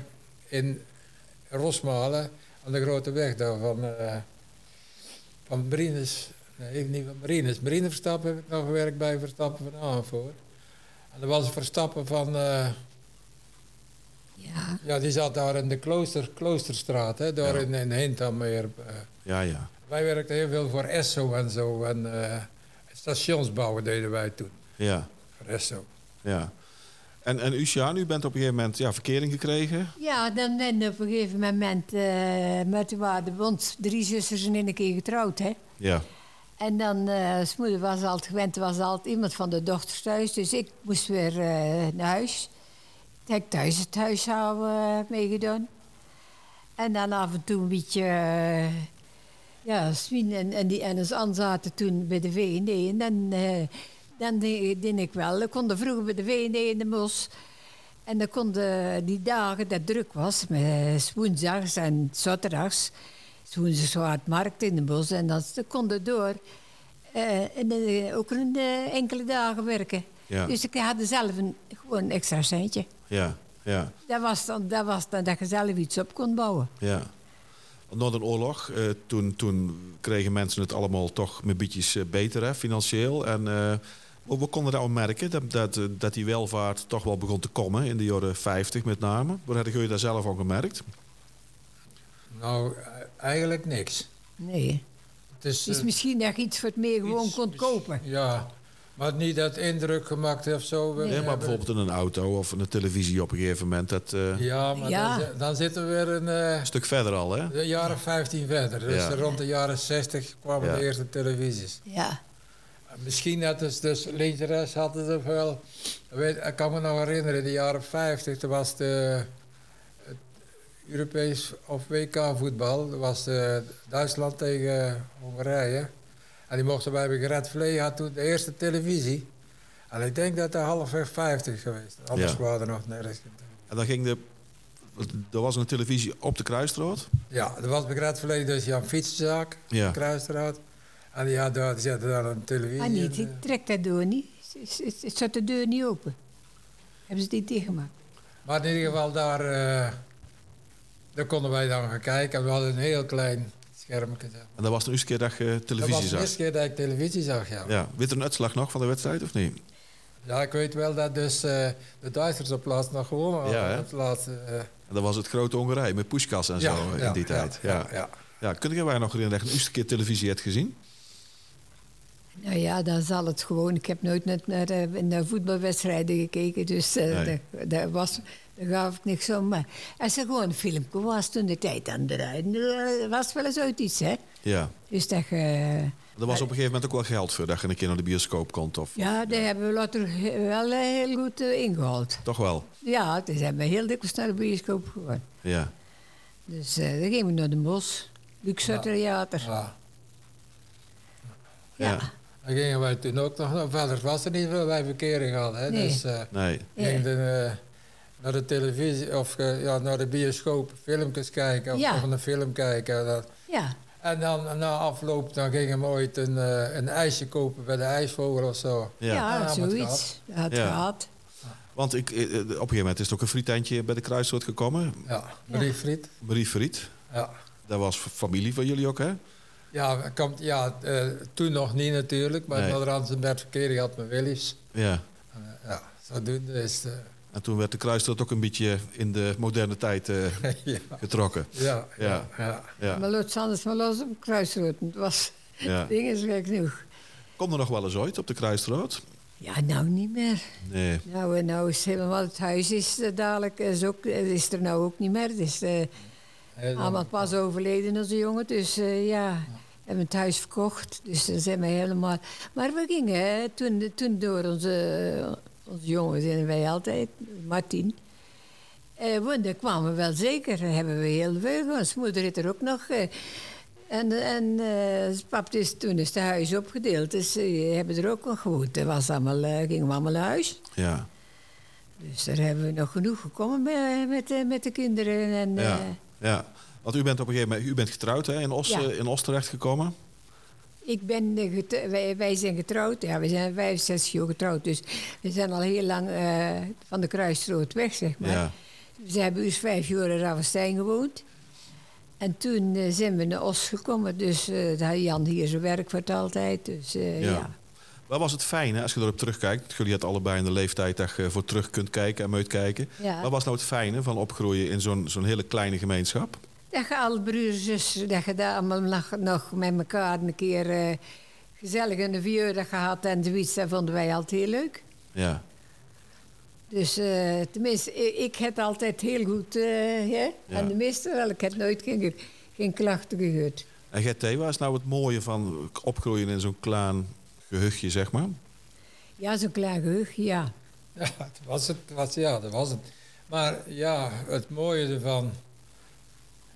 [SPEAKER 4] in Rosmalen aan de grote weg daar van, eh van Marines. Nee, even niet van Marines. Marine Verstappen heb ik nog gewerkt bij Verstappen van Aanvoort. En er was Verstappen van, eh,
[SPEAKER 3] Ja.
[SPEAKER 4] ja die zat daar in de klooster, Kloosterstraat, hè, daar
[SPEAKER 2] Ja.
[SPEAKER 4] in, in Hintameer. eh.
[SPEAKER 2] Ja, ja.
[SPEAKER 4] wij werkten heel veel voor Esso en zo. En eh, stationsbouwen deden wij toen,
[SPEAKER 2] Ja,
[SPEAKER 4] voor Esso.
[SPEAKER 2] ja. En, en u, Sjaan, u bent op een gegeven moment ja, verkering gekregen.
[SPEAKER 3] Ja, dan ben op een gegeven moment eh, met de waarde, want drie zusters en in een keer getrouwd, hè.
[SPEAKER 2] Ja,
[SPEAKER 3] En dan, eh s moeder was altijd gewend, was altijd iemand van de dochters thuis. Dus ik moest weer eh, naar huis. Ik heb thuis het huishouden eh, meegedaan. En dan af en toe een beetje... eh, ja, Swien en, en die en ons An zaten toen bij de V&D. En dan, eh, dan deed deed ik wel. Ik kon vroeger bij de V&D in de Mos. En dan konden die dagen dat druk was, met 's woensdags en 's zaterdags, 's woensdags was het markt in de bos en dat ze konden door. eh, en eh, ook een, eh, enkele dagen werken.
[SPEAKER 2] Ja.
[SPEAKER 3] Dus ik had zelf een, gewoon een extra centje.
[SPEAKER 2] ja, ja,
[SPEAKER 3] Dat was, dan, dat was dan dat je zelf iets op kon bouwen.
[SPEAKER 2] ja. Na de oorlog, eh, toen, toen kregen mensen het allemaal toch met beetje beter, hè, financieel. En eh, we, we konden daar merken dat, dat, eh, dat die welvaart toch wel begon te komen in de jaren 50 met name. Waar hadden jullie daar zelf al gemerkt?
[SPEAKER 4] Nou, eh, eigenlijk niks.
[SPEAKER 3] Nee.
[SPEAKER 4] Het is,
[SPEAKER 3] Dus
[SPEAKER 4] eh,
[SPEAKER 3] misschien dat je iets voor het meer gewoon
[SPEAKER 4] Iets-
[SPEAKER 3] kon
[SPEAKER 4] iets-
[SPEAKER 3] kopen.
[SPEAKER 4] Ja, maar niet dat indruk gemaakt heeft zo.
[SPEAKER 2] Ja, maar bijvoorbeeld in een auto of een televisie op een gegeven moment. Dat, eh,
[SPEAKER 4] Ja, maar
[SPEAKER 3] Ja.
[SPEAKER 4] Dan, zi- dan zitten we weer een, eh,
[SPEAKER 2] Een stuk verder al, hè?
[SPEAKER 4] de jaren 15 verder. Dus
[SPEAKER 2] Ja.
[SPEAKER 4] rond de jaren 60 kwamen
[SPEAKER 2] Ja.
[SPEAKER 4] de eerste televisies.
[SPEAKER 3] Ja.
[SPEAKER 4] Misschien dat is dus links en rechts hadden ze wel. Weet, ik kan me nog herinneren, in de jaren 50, toen was de, het Europees of WK voetbal. Dat was eh, Duitsland tegen Hongarije. En die mochten wij bij Gerard Vlee, had toen de eerste televisie. En ik denk dat dat halfweg 50 geweest. is. Anders
[SPEAKER 2] Ja.
[SPEAKER 4] waren er nog nergens.
[SPEAKER 2] En dan ging de... Er was een televisie op de Kruisstraat.
[SPEAKER 4] Ja, er was bij Gerard Vlee dus Jan Fietsenzaak,
[SPEAKER 2] Ja.
[SPEAKER 4] Kruisstraat. En die, had daar, die zette daar een televisie.
[SPEAKER 3] Maar Ah, niet,
[SPEAKER 4] in, eh.
[SPEAKER 3] die trekt dat door niet. Ze- ze- ze- Zat de deur niet open. Hebben ze die dichtgemaakt?
[SPEAKER 4] Maar in ieder geval, daar, eh, daar konden wij dan gaan kijken. En we hadden een heel klein schermpje. zeg maar.
[SPEAKER 2] En dat was de eerste keer dat je
[SPEAKER 4] Dat
[SPEAKER 2] televisie
[SPEAKER 4] was de
[SPEAKER 2] zag.
[SPEAKER 4] eerste keer dat ik televisie zag, ja. ja.
[SPEAKER 2] Ja. Weet er een uitslag nog van de wedstrijd of niet?
[SPEAKER 4] ik weet wel dat dus eh, de Duitsers op laatst nog gewonnen hadden.
[SPEAKER 2] Ja, hè?
[SPEAKER 4] Op laatst, eh,
[SPEAKER 2] En dat was het grote Hongarije met poeskas en zo in die tijd. Ja, ja,
[SPEAKER 4] ja, ja.
[SPEAKER 2] kunnen wij nog herinneren dat je de eerste keer televisie hebt gezien?
[SPEAKER 3] Nou ja, dan zal het gewoon. Ik heb nooit net naar, eh, naar voetbalwedstrijden gekeken, dus eh,
[SPEAKER 2] Nee.
[SPEAKER 3] daar, daar was, daar gaf ik niks om. Maar als er gewoon een filmpje was toen de tijd aan de rijden, was wel eens uit iets, hè?
[SPEAKER 2] Ja.
[SPEAKER 3] Dus dat je-
[SPEAKER 2] Er was op een gegeven moment ook wel geld voor dat je een keer naar de bioscoop kon. Of,
[SPEAKER 3] ja, daar hebben we later he- wel eh, heel goed eh, ingehaald.
[SPEAKER 2] Toch wel?
[SPEAKER 3] Ja, dus hebben we heel dikwijls naar de bioscoop gegaan.
[SPEAKER 2] Ja.
[SPEAKER 3] Dus eh dan gingen we naar de Bos, Luxor Theater. Ja.
[SPEAKER 4] Ja. Dan gingen wij toen ook nog. nou, Verder was er niet veel bij verkering al. Hè?
[SPEAKER 3] Nee.
[SPEAKER 4] Dus eh
[SPEAKER 2] Nee.
[SPEAKER 4] gingen dan, eh, naar de televisie of eh, ja, naar de bioscoop filmpjes kijken. Of,
[SPEAKER 3] Ja.
[SPEAKER 4] of een film kijken. en Dat,
[SPEAKER 3] ja.
[SPEAKER 4] En dan na afloop dan gingen we ooit een, eh, een ijsje kopen bij de ijsvogel of zo.
[SPEAKER 2] Ja.
[SPEAKER 3] Ja,
[SPEAKER 4] Ja, maar het
[SPEAKER 3] zoiets. Dat had
[SPEAKER 2] Ja.
[SPEAKER 3] gehad.
[SPEAKER 2] Want ik, eh, eh, op een gegeven moment is er ook een frietentje bij de Kruisstraat gekomen.
[SPEAKER 4] Ja, Marie Friet.
[SPEAKER 2] Marie Friet.
[SPEAKER 4] Ja,
[SPEAKER 2] Dat was familie van jullie ook, hè?
[SPEAKER 4] ja, komt, ja eh, toen nog niet natuurlijk, maar
[SPEAKER 2] Nee.
[SPEAKER 4] nee. naderhand zijn werd verkeering had met Willy's.
[SPEAKER 2] Ja.
[SPEAKER 4] En, eh, ja, zodoende is het,
[SPEAKER 2] En toen werd de Kruisstraat ook een beetje in de moderne tijd eh,
[SPEAKER 4] eh, ja,
[SPEAKER 2] getrokken.
[SPEAKER 4] ja,
[SPEAKER 2] Ja.
[SPEAKER 4] ja, ja.
[SPEAKER 2] Ja.
[SPEAKER 3] Maar Lots anders maar los op kruisrood. Het was
[SPEAKER 2] Ja.
[SPEAKER 3] ding is gek genoeg.
[SPEAKER 2] Kom er nog wel eens ooit op de Kruisstraat?
[SPEAKER 3] Ja, nou niet meer.
[SPEAKER 2] Nee.
[SPEAKER 3] Nou, eh, nou is helemaal het huis is eh, dadelijk is, ook, eh, is er nou ook niet meer. Het is eh,
[SPEAKER 4] Heel-
[SPEAKER 3] allemaal pas overleden onze jongen. Dus eh, ja, hebben het huis verkocht. Dus dan zijn we helemaal. Maar we gingen eh, toen, toen door onze, onze jongens en wij altijd, Martin. Eh, want daar kwamen we wel zeker. Daar hebben we heel veel gehad. Zijn moeder heeft er ook nog. eh, en en eh, zijn pap is, toen is het huis opgedeeld. Dus eh, hebben er ook nog gewoond. Dat was allemaal, eh, gingen we allemaal naar huis.
[SPEAKER 2] Ja.
[SPEAKER 3] Dus daar hebben we nog genoeg gekomen met, met, eh, met de kinderen. En,
[SPEAKER 2] Ja,
[SPEAKER 3] eh,
[SPEAKER 2] ja. Want u bent op een gegeven moment u bent getrouwd hè, in, Os,
[SPEAKER 3] Ja.
[SPEAKER 2] eh, in Os terechtgekomen.
[SPEAKER 3] Ik ben eh, gete- wij, wij zijn getrouwd, ja, we zijn 65 jaar getrouwd, dus we zijn al heel lang eh, van de kruisrood weg, zeg maar.
[SPEAKER 2] Ja.
[SPEAKER 3] Ze hebben dus vijf jaar in Ravenstein gewoond. En toen eh, zijn we naar Os gekomen, dus eh, daar had Jan hier zijn werk voor het altijd. Dus, eh,
[SPEAKER 2] Ja.
[SPEAKER 3] ja.
[SPEAKER 2] Wel was het fijn hè, als je erop terugkijkt. Jullie hadden allebei in de leeftijd dat je voor terug kunt kijken en moet kijken.
[SPEAKER 3] Ja.
[SPEAKER 2] Wat was nou het fijne van opgroeien in zo'n zo'n hele kleine gemeenschap?
[SPEAKER 3] Dat je alle broers en zussen, dat je daar allemaal nog, nog met elkaar een keer eh, gezellig in de vierde gehad en zoiets, dat vonden wij altijd heel leuk.
[SPEAKER 2] Ja,
[SPEAKER 3] Dus eh, tenminste, ik, ik heb altijd heel goed, eh hè? en de meeste wel, ik heb nooit geen, geen klachten gehoord.
[SPEAKER 2] En GT, wat is nou het mooie van opgroeien in zo'n klein gehuchtje, zeg maar?
[SPEAKER 3] Ja, zo'n klein geheug, ja.
[SPEAKER 4] Ja, dat was het. dat Was, ja, dat was het. Maar ja, het mooie ervan.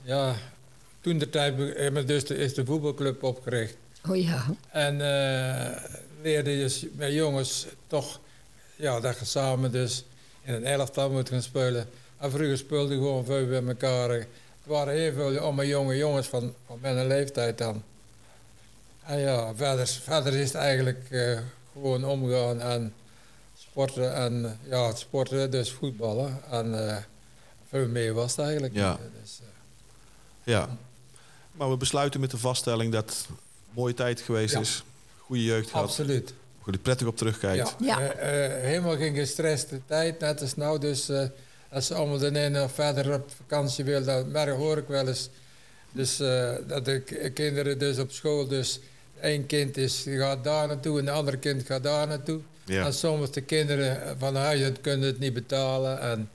[SPEAKER 4] Ja, toen de tijd be- hebben we dus de, is de voetbalclub opgericht.
[SPEAKER 3] Oh ja,
[SPEAKER 4] En eh, leerde je s- met jongens toch ja, dat je samen dus in een elftal moet gaan spelen. En vroeger speelden we gewoon veel bij elkaar. Het waren heel veel allemaal jonge jongens van, van mijn leeftijd dan. En ja, verder, verder is het eigenlijk eh, gewoon omgaan en sporten. En eh, ja, het sporten, dus voetballen. En eh, veel meer was het eigenlijk.
[SPEAKER 2] Ja.
[SPEAKER 4] niet. Dus, eh,
[SPEAKER 2] Ja. Maar we besluiten met de vaststelling dat het een mooie tijd geweest
[SPEAKER 4] Ja.
[SPEAKER 2] is. Goede jeugd gehad.
[SPEAKER 4] absoluut.
[SPEAKER 2] Goed, prettig op terugkijkt.
[SPEAKER 3] Ja.
[SPEAKER 4] eh, eh, helemaal geen gestreste tijd, net als nou. Dus eh, als ze allemaal de ene of verder op vakantie wil, dat merk hoor ik wel eens. Dus eh, dat de k- kinderen dus op school, dus één kind is, die gaat daar naartoe en de andere kind gaat daar naartoe.
[SPEAKER 2] Ja.
[SPEAKER 4] En soms de kinderen van huis uit kunnen het niet betalen. En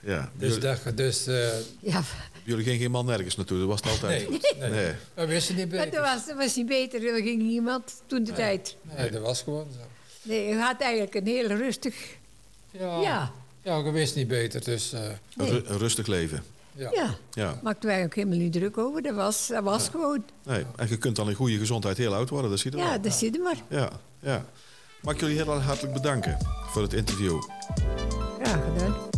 [SPEAKER 2] Ja.
[SPEAKER 4] dus
[SPEAKER 2] Jullie,
[SPEAKER 4] dat, ge- dus, eh
[SPEAKER 3] ja.
[SPEAKER 2] jullie gingen geen man nergens naartoe, dat was het altijd.
[SPEAKER 4] nee, nee.
[SPEAKER 2] Nee.
[SPEAKER 4] we wisten niet
[SPEAKER 3] Maar
[SPEAKER 4] beter.
[SPEAKER 3] dat was, dat was niet beter, er ging niemand toen de tijd.
[SPEAKER 4] Nee, dat was gewoon zo.
[SPEAKER 3] Nee, je had eigenlijk een heel rustig,
[SPEAKER 4] Ja, ja.
[SPEAKER 3] ja,
[SPEAKER 4] we wisten niet beter, dus eh,
[SPEAKER 2] Een, ru- een rustig leven.
[SPEAKER 4] ja.
[SPEAKER 3] ja.
[SPEAKER 2] Ja.
[SPEAKER 3] Maakten wij ook helemaal niet druk over, dat was, dat was gewoon,
[SPEAKER 2] Nee. En je kunt dan in goede gezondheid heel oud worden, dat ziet er
[SPEAKER 3] ja, dus-
[SPEAKER 2] wel.
[SPEAKER 3] dat zit er maar.
[SPEAKER 2] Ja. ja. Mag ik jullie heel hartelijk bedanken voor het interview.
[SPEAKER 3] Graag gedaan.